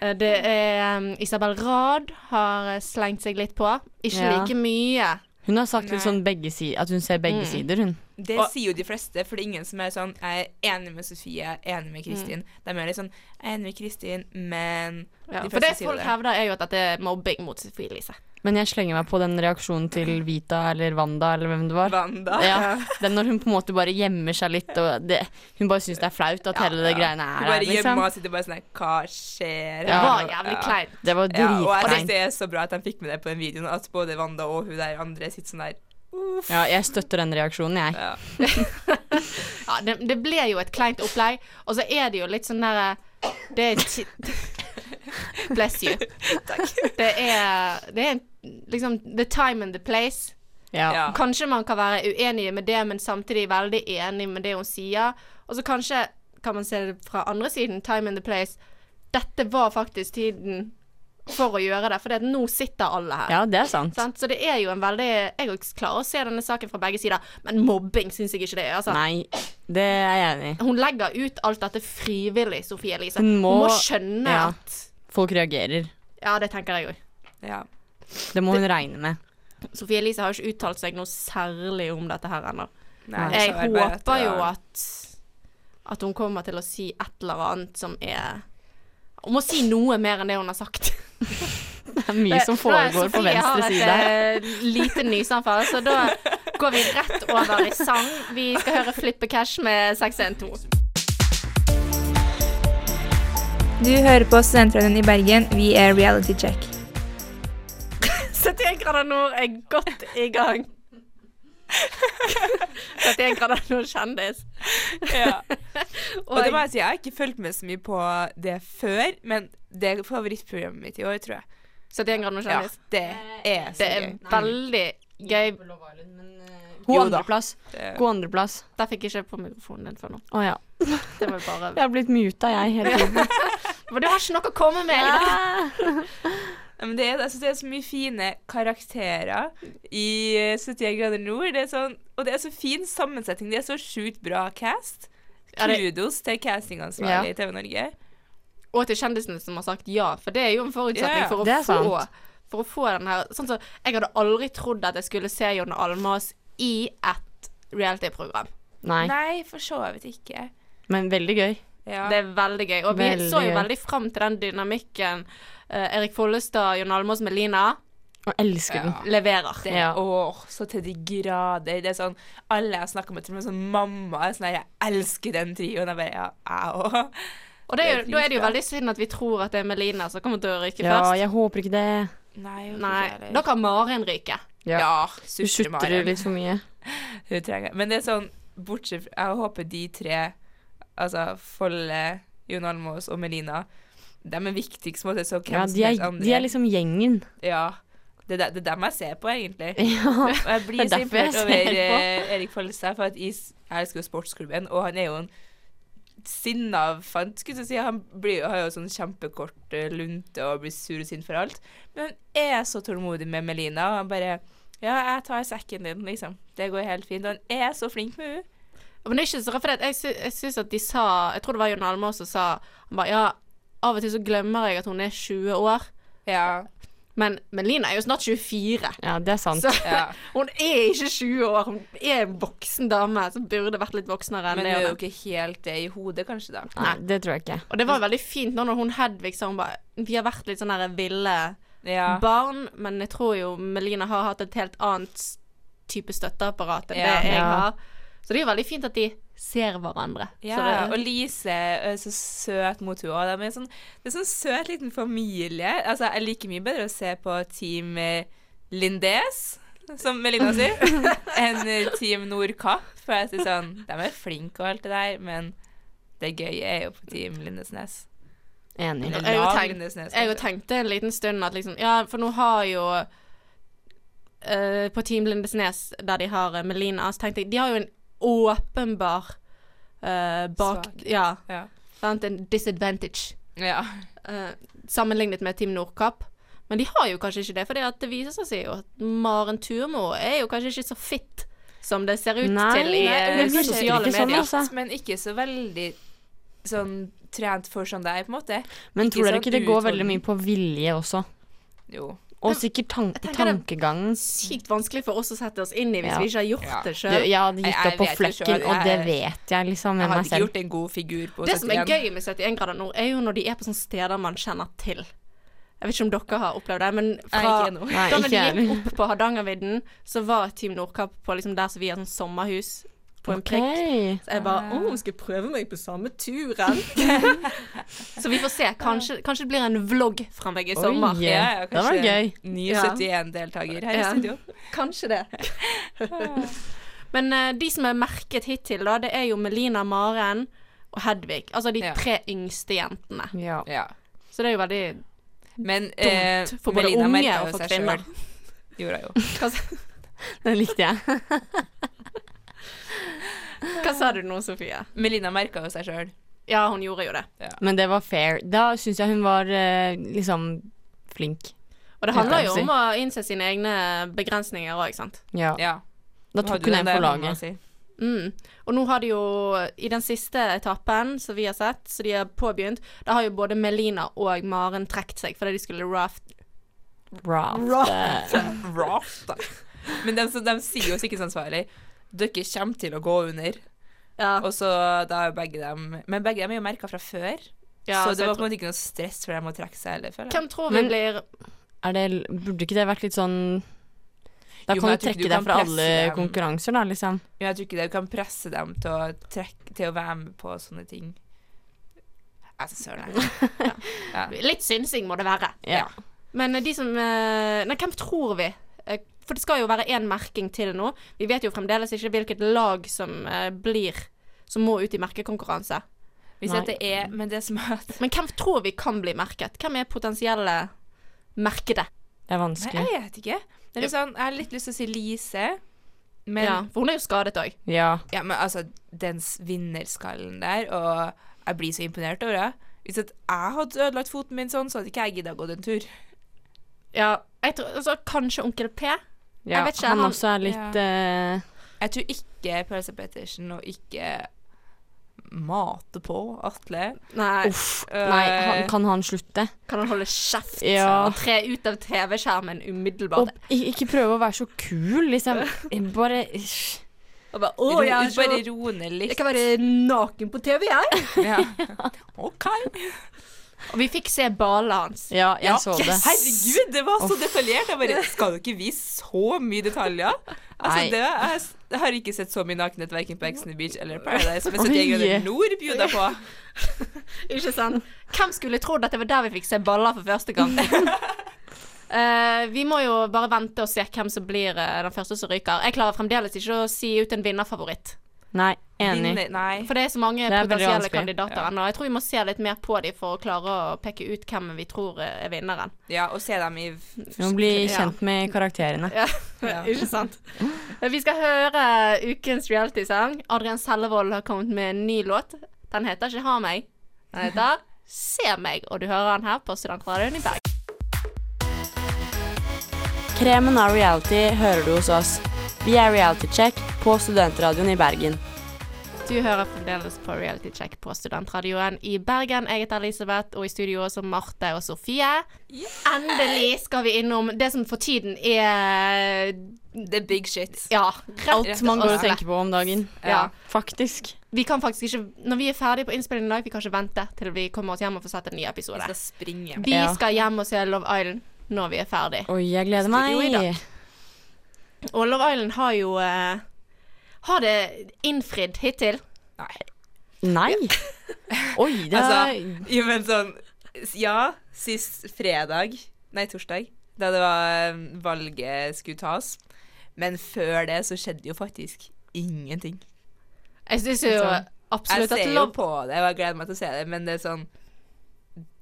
G: Eh, Det er um, Isabel Rad har eh, slengt seg litt på. Ikke
H: Ja.
G: like mye.
H: Hun har sagt litt
I: Nei. Mm.
H: sånn begge si at hun ser begge sider, hun.
I: Det
G: Og-
I: sier jo de fleste, for det er ingen som er sånn Jeg er enig med Sofie, jeg er
G: Mm.
I: enig med Kristin. De er litt sånn Jeg er enig med Kristin, men
G: Ja,
I: De
G: for det
I: fleste sier
G: folk
I: det.
G: hevder, er jo at dette er mobbing mot Sofie Elise.
H: Men jeg slenger meg på den reaksjonen til Vita eller Wanda eller hvem det var.
I: Wanda.
H: Ja, den når hun på en måte bare gjemmer seg litt, og det, hun bare syns det er flaut at hele det greiene
I: Hun
H: er
I: bare
H: her, liksom.
I: gjemmer og sitter bare sånn her, Hva skjer?
G: Det
H: Ja.
G: var jævlig kleint.
H: Det var
I: Ja, og jeg synes
H: dritkleint.
I: det er så bra at de fikk med det på den videoen, at både Wanda og hun der andre sitter sånn der Uff.
H: Ja, jeg støtter den reaksjonen, jeg.
I: Ja.
G: Ja, det, det ble jo et kleint opplegg, og så er det jo litt sånn derre Det er ti- Bless you. Det er, det er en- liksom the time and the place.
H: Ja.
I: Ja.
G: Kanskje man kan være uenig med det, men samtidig veldig enig med det hun sier. Og så kanskje kan man se det fra andre siden, time and the place. Dette var faktisk tiden for å gjøre det, for det at nå sitter alle her.
H: ja, det er sant.
G: Sant? Så det er jo en veldig Jeg også klarer å se denne saken fra begge sider, men mobbing syns jeg ikke det er. Altså.
H: Nei, det er jeg enig i.
G: Hun legger ut alt dette frivillig, Sofie Elise.
H: Hun må-
G: skjønne
H: ja.
G: at
H: Folk reagerer.
G: Ja, det tenker jeg òg.
I: ja.
H: Det må hun regne med.
G: Sofie Elise har jo ikke uttalt seg noe særlig om dette her ennå.
I: Nei,
G: Jeg
I: så er det bare
G: håper jo
I: ja.
G: at At hun kommer til å si et eller annet som er Hun må si noe mer enn det hun har sagt.
H: Det er mye som foregår på venstre side.
G: Jeg har et eh, lite nysanfall, så da går vi rett over i sang. Vi skal høre Flippe Cash med 612.
L: Du hører på Studentradioen i Bergen. Vi er Reality Check.
G: 71 grader nord er godt i gang. 71 grader nord kjendis.
I: ja. Og det
G: Og
I: må jeg si, jeg har ikke fulgt med så mye på det før, men det er favorittprogrammet mitt i år, tror jeg.
G: 71 grader nord
I: Ja,
G: kjendis.
I: det er så
G: Det er
I: gøy.
G: veldig gøy.
H: God
I: Jo da.
H: eh, andreplass.
I: Det-
H: God andreplass.
G: Der fikk jeg ikke på mikrofonen din før nå.
H: Å ja.
G: Det var bare
H: Jeg har blitt muta, jeg, hele tiden.
G: Men du har ikke noe å komme med. i dette.
I: Ja, Men det er, jeg synes det er så mye fine karakterer i eh, 71 grader nord. Det er sånn, og det er så fin sammensetning. Det er så sjukt bra cast.
G: Ja, det-
I: Kudos til castingansvarlig i TV Norge.
G: Og til kjendisene som har sagt ja, for det er jo en
I: Ja,
G: forutsetning
I: ja.
G: for,
H: Det
G: å
H: er
G: få,
H: sant.
G: for å få den her sånn som, Jeg hadde aldri trodd at jeg skulle se Jon Almaas i et reality-program.
H: Nei,
I: Nei, for så vidt ikke.
H: men veldig gøy.
I: Ja.
G: Det er veldig gøy. Og vi
H: Veldig
G: så jo
H: gøy.
G: veldig fram til den dynamikken. Eh, Erik Follestad, Jon Almaas, Melina
H: Og elsker den.
G: leverer.
I: Det,
H: Ja.
I: Åh, så til de grader. Det er sånn, Alle jeg snakker med, til og med sånn mamma er sånn her, Jeg elsker den trioen. Jeg bare Ja, jeg òg.
G: Og det er jo,
I: det er
G: da er det jo
I: dritbra.
G: veldig synd at vi tror at det er Melina som kommer til å ryke
H: Ja,
G: først.
H: jeg håper ikke det.
I: Nei. jeg orker ikke
G: Nei,
I: heller.
G: da kan Maren ryke.
H: Ja.
I: Ja,
H: Du sutrer
I: sutrer Maren.
H: litt for mye.
I: Hun trenger Men det er sånn Bortsett fra Jeg håper de tre, altså Folle, Jon Almaas og Melina, de er viktigst på en måte, så hvem
H: Ja,
I: som
H: de, er,
I: helst andre
H: de er liksom gjengen.
I: Ja. Det er de- det er dem jeg ser på, egentlig.
H: Ja.
I: Og jeg blir
H: Det er
I: så
H: derfor jeg
I: imponert over
H: ser på.
I: eh, Erik Follestad, for at jeg, s- jeg elsker jo sportsklubben, og han er jo en sinnavfant, skulle jeg si. Han blir, jo- har jo sånn kjempekort eh, lunte og blir sur og sint for alt. Men han er så tålmodig med Melina, og han bare Ja, jeg tar sekken din, liksom. Det går helt fint. Og han er så flink med henne.
G: Men det er ikke så rart, for det at jeg, sy jeg syns at de sa Jeg tror det var Jon Almaas som sa Han bare ja, av og til så glemmer jeg at hun er 20 år. Men, men Lina er jo snart 24.
H: Ja, det er sant.
G: Så hun er ikke 20 år, hun er en voksen dame som burde vært litt voksnere enn
I: Men
G: det.
I: det er
G: hun
I: jo ikke helt det i hodet, kanskje, da.
H: Nei, det tror jeg ikke.
G: Og det var veldig fint nå når hun Hedvig sa hun bare Vi har vært litt sånn der ville
I: Ja.
G: barn, men jeg tror jo Melina har hatt et helt annet s- type støtteapparat enn
I: Ja.
G: det jeg
I: Ja.
G: har. Så det er jo veldig fint at de ser hverandre.
I: Ja,
G: så
I: og
G: det,
I: Lise er så søt mot henne. og De er sånn, det er sånn søt liten familie. Altså, Jeg liker mye bedre å se på Team eh, Lindes, som Melina sier, enn eh, Team Nordkapp. For jeg synes sånn, de er flinke og alt det der, men det gøye er jo på Team Lindesnes.
H: Enig.
I: Eller
G: jeg, jo
I: lag liksom.
G: tenkte,
I: Lindesnes,
G: jeg jo
I: kanskje.
G: tenkte en liten stund at liksom Ja, for nå har jo eh, På Team Lindesnes, der de har eh, Melina, så tenkte jeg De har jo en åpenbar eh, bak...
I: Svak.
G: Ja.
I: Ja.
G: Sant? En disadvantage.
I: ja.
G: eh, sammenlignet med Team Nordkapp. Men de har jo kanskje ikke det, for det viser seg jo at Maren Turmo er jo kanskje ikke så fit som det ser ut
H: Nei,
G: til i
H: nei,
G: eh,
H: det virker
G: sosiale
H: ikke sånn,
G: medier.
H: altså.
I: Men ikke så veldig sånn trent for sånn det er, på en måte.
H: Men tror dere
I: sånn
H: ikke det går veldig
I: utholden-
H: mye på vilje også?
I: Jo.
H: Og sikkert tan
G: tenker det-
H: tankegangen.
G: Sykt vanskelig for oss å sette oss inn i hvis
H: Ja.
G: vi ikke har gjort
I: Ja.
G: det
H: Du,
G: sjøl.
H: jeg hadde
I: Jeg-
H: gitt
I: jeg
H: opp på
I: vet jo
H: flekken,
I: selv,
H: og det
I: jeg-
H: vet jeg liksom
I: Jeg
H: med
I: hadde
H: meg
I: ikke
H: selv.
I: gjort en god figur på
G: Det som er
I: 71.
G: gøy med 71 grader nord, er jo når de er på sånne steder man kjenner til. Jeg vet ikke om dere har opplevd det, men fra,
I: Nei, ikke ennå.
H: Nei,
G: da når de
H: ikke
G: gikk opp på Hardangervidden, så var Team Nordkapp på liksom der som vi har sånn sommerhus på en prikk.
H: Ok.
G: Så jeg
I: Ah.
G: bare Å, skal jeg prøve meg på samme turen? så vi får se. Kanskje, kanskje det blir en vlogg fra meg i sommer.
H: Oi.
I: Ja, ja,
H: Det var
I: kanskje
H: gøy.
I: Ny
G: Ja.
I: 71-deltaker her i
G: Ja.
I: studio.
G: Kanskje det. Men eh, de som er merket hittil, da, det er jo Melina, Maren og Hedvig. Altså de
I: Ja.
G: tre yngste jentene.
H: Ja.
I: Ja.
G: Så det er jo veldig
I: Men eh,
G: dumt for både
I: Melina
G: unge
I: merket
G: og
I: jo
G: for
I: seg
G: kvinner.
I: selv. Gjorde hun jo.
G: Hva, sa-
H: Den likte jeg.
G: hva sa du nå, Sofie?
I: Melina merka jo seg sjøl.
G: Ja, hun gjorde jo det.
H: Men det var fair. Da syns jeg hun var eh, liksom flink.
G: Og det
H: Ja,
G: handler
H: jeg
G: jo
H: vil si.
G: om å innse sine egne begrensninger òg, ikke sant.
H: Ja.
I: Ja.
H: Da tok hun en for laget.
G: Mm. Og nå har de jo, i den siste etappen som vi har sett, så de har påbegynt, da har jo både Melina og Maren trukket seg fordi de skulle raft.
H: Raft.
I: Raft, da. Men de, de sier jo sikkerhetsansvarlig dere kommer til å gå under.
G: Ja,
I: Og så da er jo begge dem Men begge dem er jo merka fra før.
G: ja,
I: så det
G: jeg
I: var på en
G: tror-
I: måte ikke noe stress for dem å trekke seg heller, føler jeg.
G: Hvem tror vi
H: Men-
G: blir
H: Er det, burde ikke det vært litt sånn Da
I: Jo,
H: kan du
I: men jeg tror ikke
H: trekke
I: du
H: deg
I: kan
H: fra
I: presse
H: alle
I: dem.
H: konkurranser, da, liksom.
I: Men jeg tror ikke det. Du kan presse dem til å, trekke, til å være med på sånne ting. Altså, søren. jeg- Ja. Ja.
G: Litt synsing må det være.
H: Ja.
G: Men eh, de som eh, Nei, hvem tror vi? Eh, For det skal jo være én merking til nå. Vi vet jo fremdeles ikke hvilket lag som eh, blir som må ut i merkekonkurranse.
I: Hvis
H: Nei.
I: at det er Men det som er at
G: Men hvem tror vi kan bli merket? Hvem er potensielle merkede?
H: Det er
I: Nei,
H: vanskelig.
I: jeg vet ikke. Det er litt sånn, jeg har litt lyst til å si Lise, men,
G: ja,
I: ja.
G: for hun er jo skadet òg.
H: Ja.
I: men altså, dens vinnerskallen der, og jeg blir så imponert over det. Hvis at jeg hadde ødelagt foten min sånn, så hadde ikke jeg giddet å gå den tur.
G: Ja, jeg tror, altså, kanskje onkel P.
H: ja.
G: vet ikke,
H: han,
G: han-
H: også er litt eh,
I: Jeg tror ikke Persa Pettersen og ikke mate på Atle.
G: Nei.
H: Uff. Nei, han,
I: Eh,
H: kan han slutte?
G: Kan han holde kjeft
H: Ja.
G: og tre ut av TV-skjermen
H: Og
G: umiddelbart?
H: i- ikke prøve å være så kul, liksom. Bare
G: Og bare,
I: ro,
G: å, jeg, er
I: bare
G: så,
I: ro ned litt.
G: jeg kan være naken på TV, jeg.
I: Ja. OK.
G: Og vi fikk se ballene hans.
H: Ja, jeg så det.
I: Herregud, det var så detaljert. Jeg bare Skal du ikke vise så mye detaljer? Altså,
H: Nei.
I: det, jeg, s- jeg har ikke sett så mye nakenhet verken på Exon Beach eller Paradise, men
H: Oi.
I: 71 grader nord bjuda på.
G: Ikke sant? Hvem skulle trodd at det var der vi fikk se baller for første gang? Eh, vi må jo bare vente og se hvem som blir eh, den første som ryker. Jeg klarer fremdeles ikke å si ut en vinnerfavoritt.
H: Nei, enig.
I: Vinner- Nei.
G: For det er så
H: Det
G: mange
H: er veldig
G: potensielle
H: vanskelig.
G: kandidater ennå. Jeg tror vi må se litt mer på dem for å klare å peke ut hvem vi tror eh, er vinneren.
I: Ja, og se dem i f-
H: Vi må bli kjent med karakterene.
I: Ja.
G: Ikke sant? Eh, Vi skal høre ukens realitysang. Adrian Sellevold har kommet med en ny låt. Den heter ikke Ha meg. Den heter Se meg, og du hører den her på Studentradioen i Bergen.
H: Kremen av reality hører du hos oss. Vi er Reality Check på Studentradioen i Bergen.
G: Du hører fremdeles på Reality Check på studentradioen i Bergen. Jeg heter Elisabeth, og i studio også Marte og Sofie. Endelig skal vi innom det som for tiden er
I: The big shit.
G: Ja.
H: Alt man går og tenker på om dagen.
G: Ja.
H: Faktisk.
G: Vi kan faktisk ikke, når vi er ferdige på innspillingen i dag, vi kan ikke vente til vi kommer oss hjem og får sett en ny episode.
I: Vi skal springe.
G: Vi
H: Ja.
G: skal hjem og se Love Island når vi er ferdig.
H: Oi, jeg gleder
G: Studio i dag.
H: meg.
G: Og Love Island har jo eh, Har det innfridd hittil?
H: Nei. Oi, det er
I: Altså, jo, men sånn Ja, sist fredag Nei, torsdag, da det var um, valget skulle tas. Men før det så skjedde jo faktisk ingenting.
G: Jeg syns jo
I: Sånn.
G: absolutt
I: jeg
G: at
I: ser jo
G: Love
I: på det, og jeg gleder meg til å se det, men det er sånn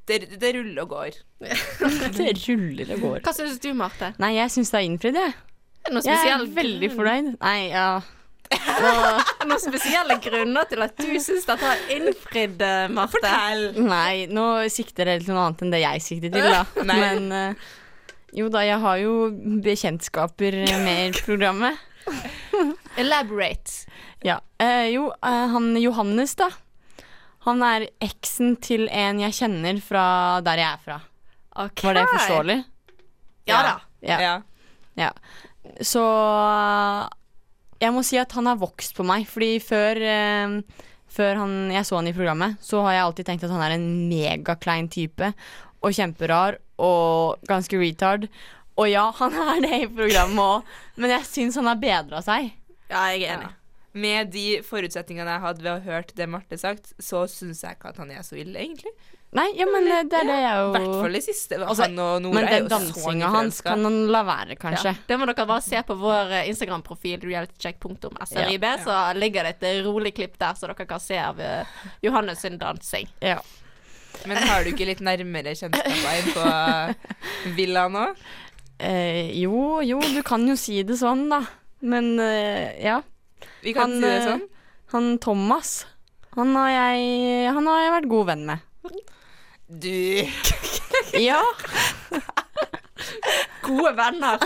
I: Det, det ruller og går.
H: Det ruller og går.
G: Hva syns du, Marte?
H: Nei, jeg syns det er innfridd, jeg.
G: Er det noen
H: Jeg er
G: spesielle
H: veldig
G: grunn-
H: fornøyd. Nei, ja.
G: Er det noen spesielle grunner til at du syns dette har innfridd, eh, Marte?
I: Fortell!
H: Nei, nå sikter dere til noe annet enn det jeg sikter til, da.
I: Nei.
H: Men eh, jo da, jeg har jo bekjentskaper med programmet.
G: Elaborate.
H: Ja. Eh, jo, eh, han Johannes, da. Han er eksen til en jeg kjenner fra der jeg er fra.
G: Ok.
H: Var det forståelig?
G: Ja da.
H: Ja.
I: Ja.
H: Ja. Så eh, jeg må si at han har vokst på meg. Fordi før, eh, før han, jeg så han i programmet, så har jeg alltid tenkt at han er en megaklein type. Og kjemperar og ganske retard. Og ja, han er det i programmet òg, men jeg syns han har bedra seg.
G: Ja, jeg er enig.
I: Med de forutsetningene jeg hadde ved å ha hørt det Marte sagt, så syns jeg ikke at han er så ille, egentlig.
H: Nei, ja, men eh, det er det jeg
I: I
H: jo
I: hvert fall det siste.
H: Altså,
I: han og Nora
H: Men
I: er
H: den
I: jo så
H: dansinga hans
I: nyforelska.
H: kan han la være, kanskje.
G: Det må dere bare se på vår eh, Instagram-profil realitycheck.srib, så ligger det et eh, rolig klipp der, så dere kan se av eh, Johannes sin dansing.
H: Ja.
I: Men har du ikke litt nærmere kjennskap inn på Villa nå?
H: Eh, jo, jo, du kan jo si det sånn, da. Men eh, ja.
I: Vi kan si det
H: eh,
I: sånn.
H: han Thomas, han har, jeg, han har jeg vært god venn med.
I: Du
H: Ja,
G: Gode venner.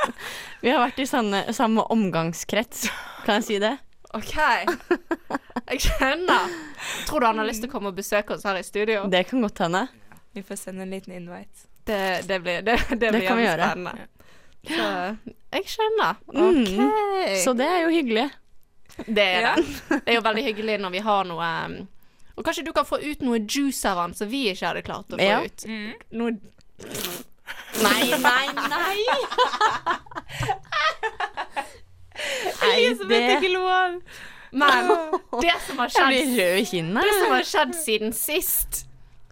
H: vi har vært i samme, samme omgangskrets, kan jeg si det?
G: OK. Jeg skjønner. Tror du han har lyst til å komme og besøke oss her i studio?
H: Det kan godt hende.
I: Vi får sende en liten invite.
G: Det, det blir, det, det blir
H: kan vi
G: jævlig
H: gjøre.
G: spennende. Så jeg skjønner.
H: Mm.
G: OK.
H: Så det er jo hyggelig.
G: Det er
I: Ja.
G: det. Det er jo veldig hyggelig når vi har noe um, Og kanskje du kan få ut noe juice av han som vi ikke hadde klart å få
H: Ja.
G: ut. Noe
H: Nei, nei, nei! Nei, det
I: lov!
G: Men det som har
H: Jeg blir rød i
G: skjedd, det som
H: kinnet.
G: har skjedd siden sist,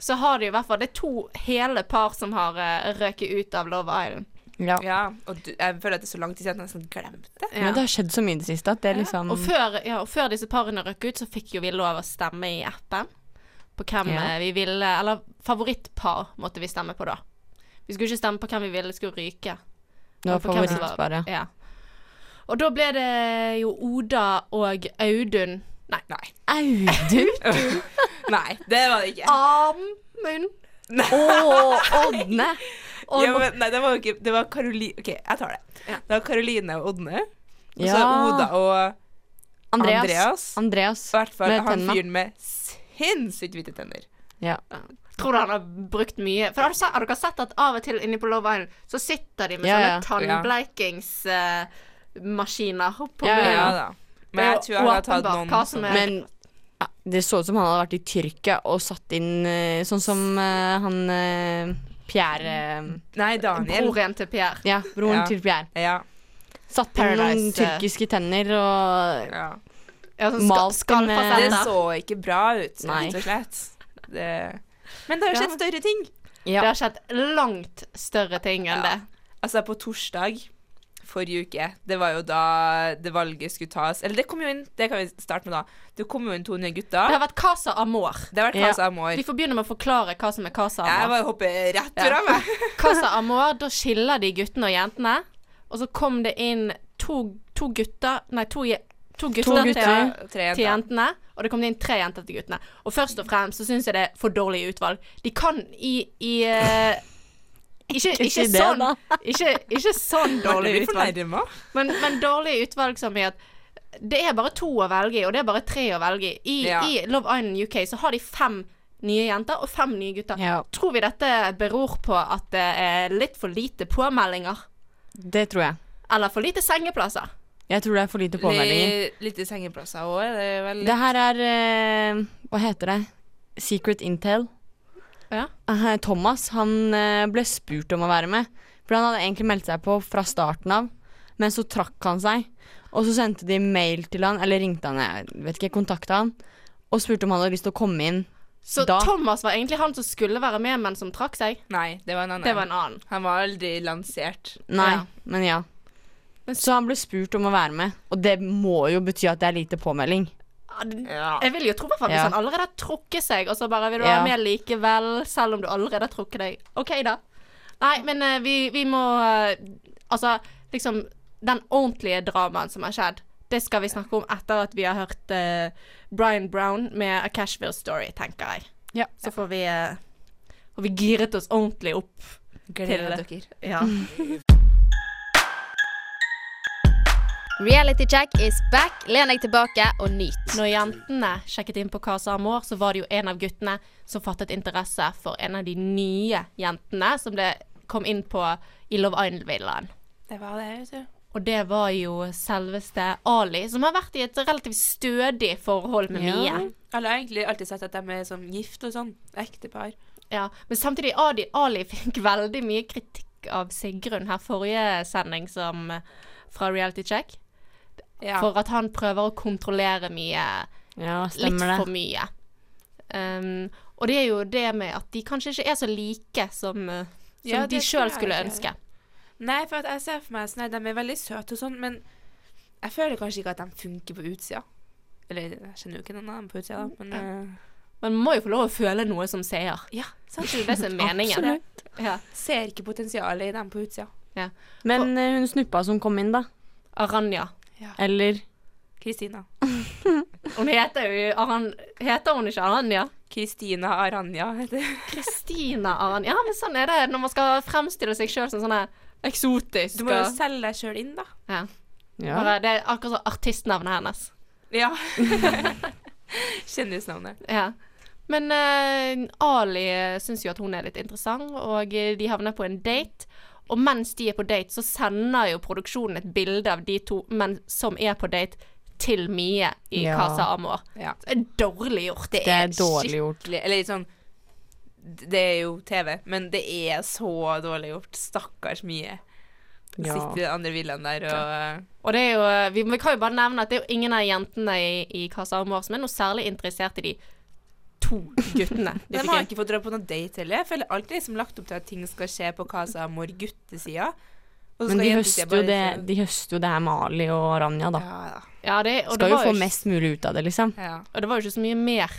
G: så har det jo i hvert fall Det er to hele par som har eh, røket ut av Love Island.
H: Ja.
I: Ja, og du, jeg føler at det er så lang tid siden at jeg nesten glemte det.
H: Men det har skjedd så mye i det siste at det er liksom
G: Og før, ja, og før disse parene røk ut, så fikk jo vi lov å stemme i appen på hvem
H: Ja.
G: eh, vi ville Eller favorittpar måtte vi stemme på da. Vi skulle ikke stemme på hvem vi ville skulle ryke.
H: Det var
G: og på hvem som var-
H: favorittparet.
G: Ja. Og da ble det jo Oda og Audun Nei.
H: Audun!
I: Nei, det var det
H: Ah,
I: ikke.
G: Amund.
H: Og Ådne!
I: Ja, men, nei, det var jo ikke Det var Karoline OK, jeg tar det. Det var Caroline og Odne. Og så
H: Ja.
I: Oda og
H: Andreas.
I: Andreas.
H: Andreas.
I: i hvert fall
H: Med
I: han
H: tenna.
I: fyren med sinnssykt hvite tenner.
H: Ja.
G: Tror du han har brukt mye? For har, du se- har dere sett at av og til inne på Love Island så sitter de med
H: Ja, ja.
G: sånne tannbleikingsmaskiner på
H: Ja, ja,
G: munnen.
I: Ja da. Men jeg tror han har tatt
G: Åpenbart
I: noen
G: hva som er-
H: Men ja, det så ut som han hadde vært i Tyrkia og satt inn eh, sånn som eh, han eh, Pierre eh,
I: Nei, Daniel.
G: Broren til Pierre.
H: Ja, broren
I: Ja.
H: til Pierre.
I: Ja.
H: Satt inn noen
G: Paradise, eh.
H: tyrkiske tenner og
I: ja.
G: Ja, sånn
H: Malt
G: skal,
H: med-
G: skalfasetter.
I: Det så ikke bra ut,
H: Nei.
I: rett og slett. Det... Men det har jo
G: Ja.
I: skjedd større ting.
H: Ja.
G: Det har skjedd langt større ting enn
I: Ja.
G: det.
I: Altså, på torsdag forrige uke, det var jo da det valget skulle tas Eller det kom jo inn, det kan vi starte med da. Det kom jo inn to nye
G: Det
I: gutter.
G: har vært Casa Amor.
I: Det har vært
H: Ja.
I: Casa Amor.
G: Vi får begynne med å forklare hva som er Casa
I: Jeg
G: Amor.
I: bare hopper rett
G: Ja.
I: fra meg.
G: Casa Amor, da skiller de guttene og jentene. Og så kom det inn to, to gutter Nei, to, je- to gutter, til,
I: Ja, Tre
G: til
I: jenter.
G: jentene. Og det kom inn tre jenter til guttene. Og først og fremst så syns jeg det er for dårlig utvalg. De kan i, i eh, ikke, ikke,
H: Ikke det,
G: sånn,
H: da.
G: ikke, ikke sånn
I: Ble
G: dårlig
I: vi
G: utvalg.
I: fornærma?
G: Men, men dårlig utvalg som i at det er bare to å velge i, og det er bare tre å velge i. I,
H: Ja.
G: i Love Island UK så har de fem nye jenter og fem nye gutter. Tror vi dette beror på at det er litt for lite påmeldinger?
H: Det tror jeg.
G: Eller for lite sengeplasser?
H: Jeg tror det er for lite påmeldinger.
I: Litt i sengeplasser òg, er det vel?
H: Det her er eh, Hva heter det? Secret Intel.
G: Ja.
H: Eh, Thomas han eh, ble spurt om å være med. For han hadde egentlig meldt seg på fra starten av, men så trakk han seg. Og så sendte de mail til han, eller ringte han, jeg vet ikke, kontakta han, og spurte om han hadde lyst til å komme inn.
G: Så
H: da.
G: Thomas var egentlig han som skulle være med, men som trakk seg?
I: Nei, det var en annen.
G: Det var en annen.
I: Han var aldri lansert.
H: Nei, men ja. Så han ble spurt om å være med, og det må jo bety at det er lite påmelding.
G: Jeg vil jo tro faktisk
H: Ja.
G: han allerede har trukket seg, og så bare vil du
H: Ja.
G: være med likevel, selv om du allerede har trukket deg. OK, da. Nei, men eh, vi, vi må eh, Altså, liksom Den ordentlige dramaen som har skjedd, det skal vi snakke om etter at vi har hørt eh, Brian Brown med A Cashville Story, tenker jeg. Så får vi eh, Får vi giret oss ordentlig opp
I: Gleder
G: til
I: dere.
G: Ja.
J: Reality check is back. Len deg tilbake og nyt.
G: Når jentene sjekket inn på Casa Amor, så var det jo en av guttene som fattet interesse for en av de nye jentene som det kom inn på i Love Island-villaen.
I: Det var det, vet du.
G: Og det var jo selveste Ali, som har vært i et relativt stødig forhold med Mie.
I: Alle har egentlig alltid sett at de er sånn gift og sånn. Ektepar.
G: Ja, men samtidig Ali, Ali fikk veldig mye kritikk av Sigrun her forrige sending som, eh, fra Reality Check.
I: Ja.
G: For at han prøver å kontrollere mye.
H: Ja,
G: litt
H: stemmer det.
G: for mye. Um, og det er jo det med at de kanskje ikke er så like som, uh, som
I: Ja,
G: de
I: det tror
G: sjøl
I: jeg
G: skulle
I: ikke.
G: ønske.
I: Nei, for at jeg ser for meg sånn, at de er veldig søte og sånn, men jeg føler kanskje ikke at de funker på utsida. Eller jeg kjenner jo ikke noen av dem på utsida, da, men eh,
G: Man må jo få lov å føle noe som seier.
I: Ja, sant.
G: Det er jo det som er meningen.
H: Absolutt.
G: Ja.
I: ser ikke potensialet i dem på utsida.
G: Ja.
H: Men eh, hun snuppa som kom inn, da.
G: Aranja.
H: Eller
I: Kristina.
G: Hun heter jo Aran... Heter hun ikke Aranja?
I: Kristina Aranja heter
G: Kristina Aranja. Ja, men sånn er det når man skal fremstille seg sjøl som sånn her eksotisk.
I: Du må jo
G: og-
I: selge deg sjøl inn, da.
G: ja.
H: Ja.
G: Bare, det er akkurat som artistnavnet hennes.
I: Ja. Kjendisnavnet.
G: Ja. Men eh, Ali syns jo at hun er litt interessant, og eh, de havner på en date. Og mens de er på date, så sender jo produksjonen et bilde av de to menn som er på date, til Mie i
H: Ja.
G: Casa Amor.
I: Ja.
G: Det er dårlig gjort.
H: Det er dårlig gjort.
I: Skikkelig. Eller litt sånn Det er jo TV, men det er så dårlig gjort. Stakkars mye.
G: Ja.
I: Sitter i den andre villaen der og
G: Og det er jo, eh, vi, vi kan jo bare nevne at det er jo ingen av jentene i, i Casa Amor som er noe særlig interessert i de to guttene. De
I: De
G: fikk
I: har
G: inn.
I: ikke fått dra på noen date heller. Jeg føler alltid liksom lagt opp til at ting skal skje på Casa Amor guttesida. Og så
H: Men
I: skal
H: de
I: jentesida
H: høster jo
I: bare
H: det,
I: se-
H: de høster jo det her med Ali og Ranja, da.
G: Ja, det, og
H: Skal
G: det
H: jo
G: var
H: få
G: ikke-
H: mest mulig ut av det, liksom.
G: Og det var jo ikke så mye mer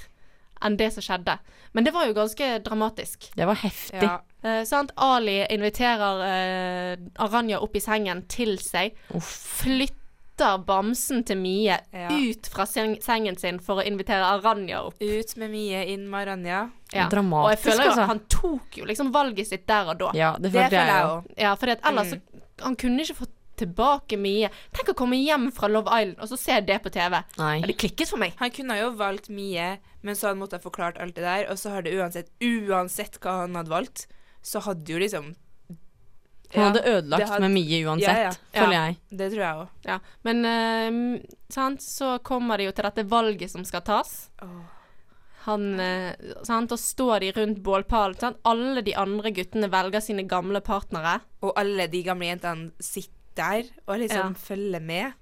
G: enn det som skjedde. Men det var jo ganske dramatisk.
H: Det var heftig.
G: Ja. Eh, sant? Ali inviterer eh, Aranja opp i sengen til seg. Flytter bamsen til Mie
I: Ja.
G: ut fra seng sengen sin for å invitere Aranja opp.
I: Ut med Mie, inn med Aranja.
G: Ja. og jeg
H: Dramatisk,
G: føler jo
H: altså.
G: at han tok jo liksom valget sitt der og da.
H: Ja, det Det følte jeg føler jeg også.
G: Ja, fordi at ellers så Han kunne ikke fått tilbake Mie. Tenk å komme hjem fra Love Island og så se det på TV.
H: Nei.
G: Ja, det klikket for meg.
I: Han kunne jo valgt Mie, men så hadde han måttet ha forklart alt det der. Og så har det uansett, uansett hva han hadde valgt, så hadde jo liksom
H: Han
I: Ja,
H: hadde ødelagt
I: det hadde-
H: med mye uansett,
I: Ja, ja.
H: føler
I: Ja,
H: jeg.
I: Det tror jeg òg.
G: Ja, men eh, sant, så kommer det jo til dette valget som skal tas. Han, eh, sant, og står de rundt bålpallen. Sant? Alle de andre guttene velger sine gamle partnere.
I: Og alle de gamle jentene sitter der og liksom følger med.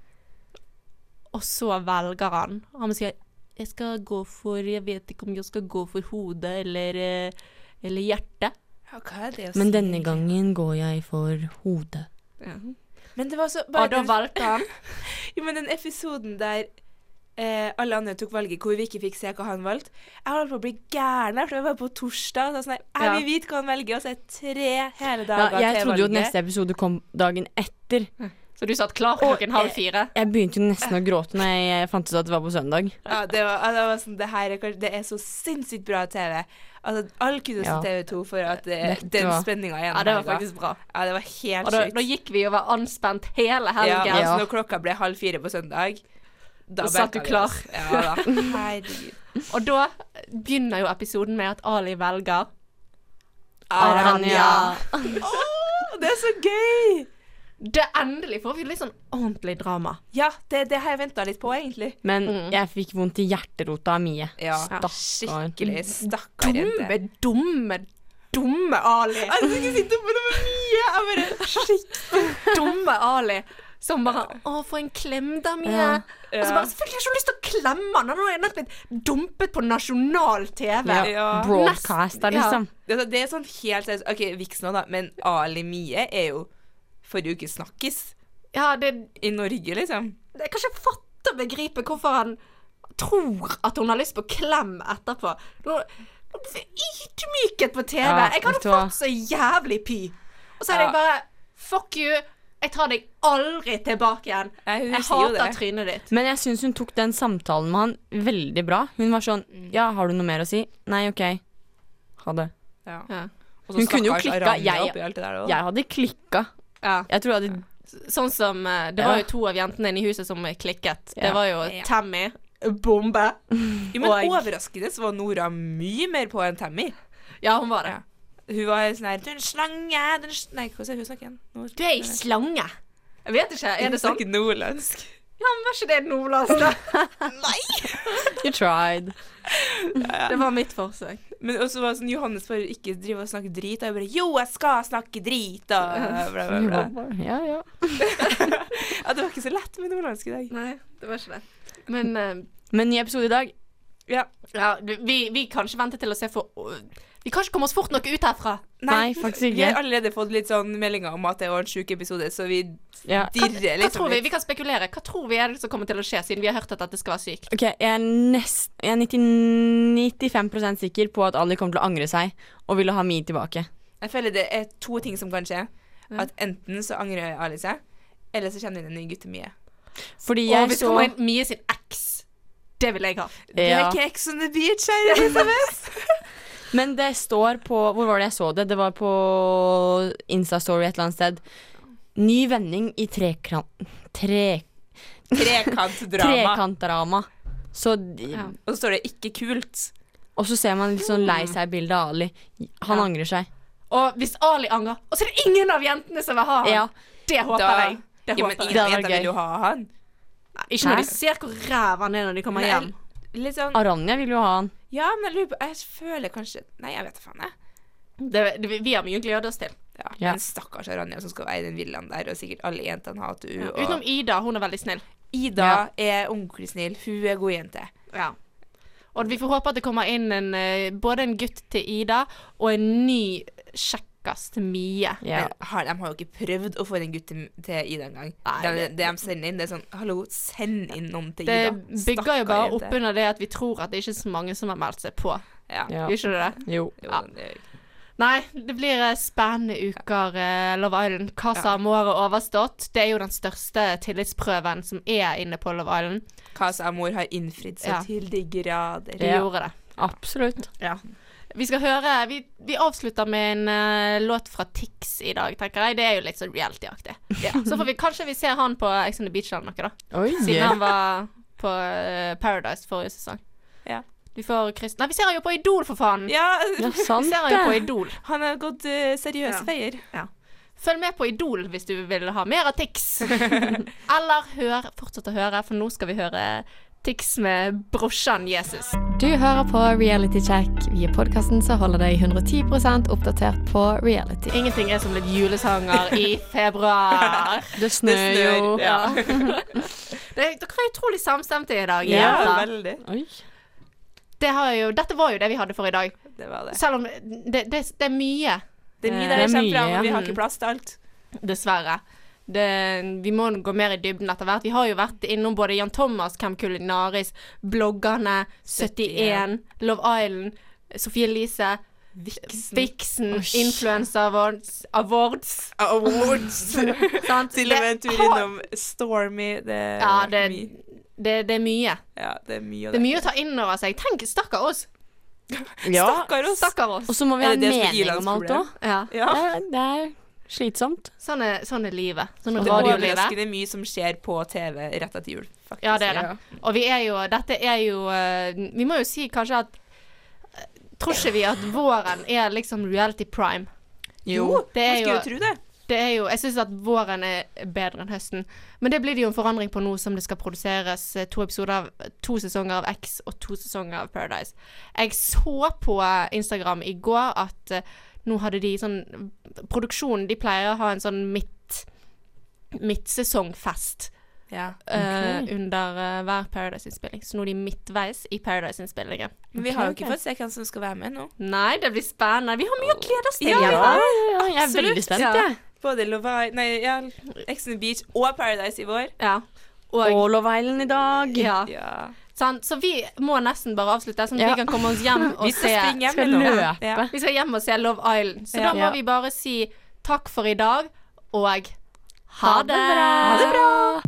G: Og så velger han. Han sier 'Jeg skal gå for Jeg vet ikke om jeg skal gå for hodet eller, eh, eller hjertet'.
I: Ja, hva er det å
H: Men
I: si?
H: denne gangen går jeg for hodet.
I: Men det var så
G: Og da valgte han.
I: jo, men den episoden der eh, alle andre tok valget, hvor vi ikke fikk se hva han valgte Jeg holdt på å bli gæren, der, for det var på torsdag. Og så sånn her, jeg vil vite hva han velger, og så er det tre hele
H: Ja,
I: dager
H: jeg
I: til
H: trodde jo at
I: valget.
H: neste episode kom dagen etter.
G: Så du satt klar klokken halv fire?
H: Jeg begynte jo nesten å gråte når jeg fant ut at det var på søndag.
I: Ja, det var, ja, det var sånn, det her er, kanskje- det er så sinnssykt bra TV. Altså, all kudos til
H: Ja.
I: TV 2 for at eh,
H: Dette
I: den
H: var-
I: spenninga gjennom
G: Ja, det var
I: helga.
G: faktisk bra.
I: Ja, det var helt
G: Og da,
I: sjukt.
G: da gikk vi og var anspent hele helgen.
I: Ja, altså, når klokka ble halv fire på søndag,
G: Da satt du
M: benker vi
G: klar.
M: oss. Ja da.
I: Herregud.
G: Og da begynner jo episoden med at Ali velger
I: Aranya.
G: Åh, det er så gøy! Det Endelig får vi litt sånn ordentlig drama.
I: Ja, det, det har jeg venta litt på, egentlig.
H: Men jeg fikk vondt i hjerterota av Mie.
I: Ja,
H: Stakkaren.
I: skikkelig.
G: Mm.
I: Stakkar
G: Dumme, dumme, dumme Ali.
I: Jeg skal ikke si dumme, det var mye. Jeg bare
G: Skikkelig dumme Ali. Som bare Å, få en klem, da, Mie.
I: Ja.
G: Og så
I: Ja.
G: bare Selvfølgelig har jeg ikke lyst til å klemme han. Han har jo nettopp blitt dumpet på nasjonal TV. Nest- ja.
H: liksom.
I: Det, er så- det er sånn helt seriøst. OK, Vix nå, da, men Ali Mie er jo forrige uke snakkis.
G: Ja, det
I: I Norge, liksom.
G: Jeg kan ikke fatte og begripe hvorfor han tror at hun har lyst på klem etterpå. Nå- Ydmyket på TV!
M: Ja,
G: jeg
M: vet
G: hadde
M: du hva?
G: fått så jævlig py. Og så
M: Ja.
G: er jeg bare Fuck you! Jeg tar deg aldri tilbake igjen. Jeg,
H: sier jo
G: hater
H: det.
G: trynet ditt.
H: Men jeg syns hun tok den samtalen med han veldig bra. Hun var sånn Ja, har du noe mer å si? Nei, OK. Ha det.
I: Ja.
G: Og så
H: Hun kunne jo
G: stakkars
H: klikka.
G: Aranya
H: Jeg,
G: oppi alt det der også.
H: jeg hadde klikka. Jeg tror jeg hadde
G: Sånn som eh, Det var
H: Ja.
G: jo to av jentene inne i huset som eh, klikket. Det
H: Ja.
G: var jo
I: Ja.
G: Tammy. Bombe.
I: Jo, men overraskende så var Nora mye mer på enn Tammy.
G: Ja, hun var det.
I: Hun var sånn her Du er en slange! Du er en sl Nei, hvordan er hun snakker igjen? Nå-
G: Du er ei slange. Jeg vet ikke. Er det
I: Hun
G: sånn?
I: snakker nordlandsk.
G: Ja, men var ikke det nordlandsk, da?
H: You tried.
G: Det var mitt forsøk.
I: Men også var det sånn Johannes får ikke drive og snakke drit, og jeg bare Jo, jeg skal snakke drit, og bla, bla, bla.
H: Ja, ja.
I: Ja, det var ikke så lett med nordlandsk i dag.
G: Nei, det var ikke det. Men eh,
H: Men ny episode i dag.
I: Ja.
G: du, vi, vi kan ikke vente til å se for Vi kan ikke komme oss fort nok ut herfra.
H: Nei, faktisk ikke.
I: Vi har allerede fått litt sånn meldinger om at det var en sjuk episode, så vi
H: Ja.
I: dirrer
G: Hva tror
I: liksom
G: vi?
I: litt.
G: Vi kan spekulere. Hva tror vi er det som kommer til å skje, siden vi har hørt at dette skal være sykt?
H: Ok, jeg er, nest, jeg er 90, 95 sikker på at Ali kommer til å angre seg og ville ha Mi tilbake.
I: Jeg føler det er to ting som kan skje. At enten så angrer Ali seg, eller så kjenner vi den nye gutten mye.
H: Fordi
I: Å,
H: jeg
I: hvis det
H: så
I: kommer
G: en Mie sin eks. Det vil jeg ha.
I: Det er
H: Ja.
I: ikke Ex on the beach her, Elisabeth.
H: Men det står på Hvor var det jeg så det? Det var på Instastory et eller annet sted. Ny vending i trekran... Tre,
I: Trekantdrama.
H: trekantdrama. Så de-
I: Og så står det 'ikke kult'.
H: Og så ser man litt sånn lei seg-bilde av Ali. Han
G: Ja.
H: angrer seg.
G: Og hvis Ali angrer, og så er det ingen av jentene som vil ha han!
H: Ja.
G: Det håper
H: Da-
G: jeg. Det
H: Ja,
G: håper
H: men
G: jeg.
H: ingen av Det hadde vært jentene vil jo gøy.
I: ha han.
G: Nei, ikke når
H: Nei.
G: de ser hvor ræv han er når de kommer
I: Nei,
G: hjem.
I: Litt sånn
H: Aranja vil jo ha han.
I: Ja, men jeg lurer på Jeg føler kanskje Nei, jeg vet da faen, jeg.
G: Det, det, vi har mye å glede oss til.
I: Ja,
H: Ja.
I: Men stakkars Aranja som skal være i den villaen der, og sikkert alle jentene hater henne. og-
G: Utenom Ida, hun er veldig snill.
I: Ida er ordentlig snill. Hun er god jente.
G: Ja. Og vi får håpe at det kommer inn en, eh, både en gutt til Ida og en ny kjekkas til Mie.
I: Men har, de har jo ikke prøvd å få inn en gutt til, til Ida engang.
G: Nei, det-
I: Det, det de sender inn, det er sånn Hallo, send inn noen til
G: Det
I: Ida.
G: bygger jo
I: Stakkar
G: bare
I: jente.
G: opp under det at vi tror at det ikke er så mange som har meldt seg på.
I: Ja.
H: Ja.
G: Gjør ikke det det?
H: Jo.
I: Jo, det gjør jeg.
G: Nei, det blir eh, spennende uker, eh, Love Island. Hva
I: Ja.
G: sa om året overstått? Det er jo den største tillitsprøven som er inne på Love Island.
I: Hva sa mor har innfridd seg
G: Ja.
I: til de grader.
G: Du gjorde det.
H: Absolutt.
G: Vi skal høre Vi, vi avslutter med en eh, låt fra Tix i dag, tenker jeg. Det er jo litt sånn reality-aktig. Så får vi kanskje vi ser han på Ex on the Beach eller noe, da.
H: Oi.
G: Siden han var på eh, Paradise forrige sesong.
I: Ja.
G: Vi får Chris Nei, vi ser han jo på Idol, for faen!
I: Ja,
H: Ja, sant
G: vi ser han jo på
H: det.
G: Idol.
I: Han har gått eh, seriøs
G: Ja.
I: veier.
G: Ja. Følg med på Idol hvis du vil ha mer av Tix. eller hør, fortsett å høre, for nå skal vi høre Tix med brorsan Jesus.
J: Du hører på Reality Check. Vi er podkasten som holder deg 110 oppdatert på reality.
G: Ingenting er som litt julesanger i februar.
H: Det snør jo.
G: Ja. det, dere er utrolig samstemte i dag. jenter.
I: veldig.
G: Det har jo, dette var jo det vi hadde for i dag.
I: Det var det.
G: Selv om det, det, det er mye.
I: Det er mye
G: Eh,
I: der jeg kommer fra, men vi har ikke plass til alt.
G: Dessverre. Det, vi må gå mer i dybden etter hvert. Vi har jo vært innom både Jan Thomas, Cam Kulinaris, bloggerne, 71, Love Island, Sofie Elise, Vixen,
I: Osh.
G: Influencer Awards, Awards.
I: Awards.
G: Sant?
I: Til og med en
G: Sånn. Det
I: tur
G: har-
I: innom Stormy. Det,
G: Ja,
I: har vært
G: det,
I: mye.
G: det, det er mye.
I: ja, det er mye. av
G: Det er mye å ta inn over seg. Tenk, stakkar oss.
H: Ja.
I: Stakkar oss.
G: Stakkar oss.
H: Og så må vi
I: Er
H: ha
I: det
H: en
I: det som er
H: mening om
I: Irlands
H: alt òg.
I: problem?
G: Ja.
I: Ja.
H: Det er Slitsomt.
G: Sånn er, sånn er livet. Sånn
I: Det
G: er
I: er
G: radiolivet.
I: overraskende mye som skjer på TV rett etter jul. Faktisk.
G: Ja, det er det. Og vi er jo Dette er jo eh, Vi må jo si kanskje at eh, Tror ikke vi at våren er liksom reality prime?
I: Jo, man skulle jo tro det.
G: er jo, jeg syns at våren er bedre enn høsten. Men det blir det jo en forandring på nå som det skal produseres eh, to episoder av to sesonger av X og to sesonger av Paradise. Jeg så på eh, Instagram i går at eh, nå hadde de sånn Produksjonen de pleier å ha en sånn midt midtsesongfest.
I: Ja.
G: eh,
I: Ok.
G: under eh, hver Paradise-innspilling. Så nå er de midtveis i Paradise-innspillingen.
I: Men vi har jo ikke fått se hvem som skal være med nå.
G: Nei, det blir spennende. Vi har mye å glede oss til.
I: Ja, ja,
H: ja, jeg er
I: Absolutt.
H: veldig spent,
I: Ja.
H: jeg.
I: Både Lovai, nei, ja, Ex on the Beach og Paradise i vår.
G: Ja.
H: Og, Love Island i dag.
G: Ja. Sant? Så vi må nesten bare avslutte, sånn at
H: Ja.
G: vi kan komme oss hjem og
I: Vi skal
G: se
I: springe hjem Skal nå. løpe.
G: Ja. Vi skal hjem og se Love Island. Så
I: Ja.
G: da må
I: Ja.
G: vi bare si takk for i dag, og ha
I: Ha det
G: det!
I: bra. Ha det bra.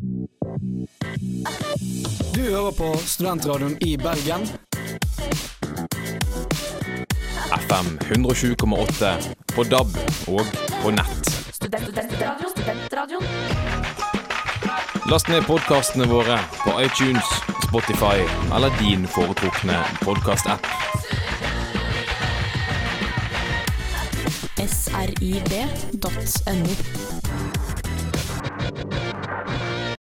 M: Du hører på Studentradioen i Bergen.
N: FM 107,8 på DAB og på nett. Last ned podkastene våre på iTunes, Spotify eller din foretrukne podkast-app.
O: srib.no.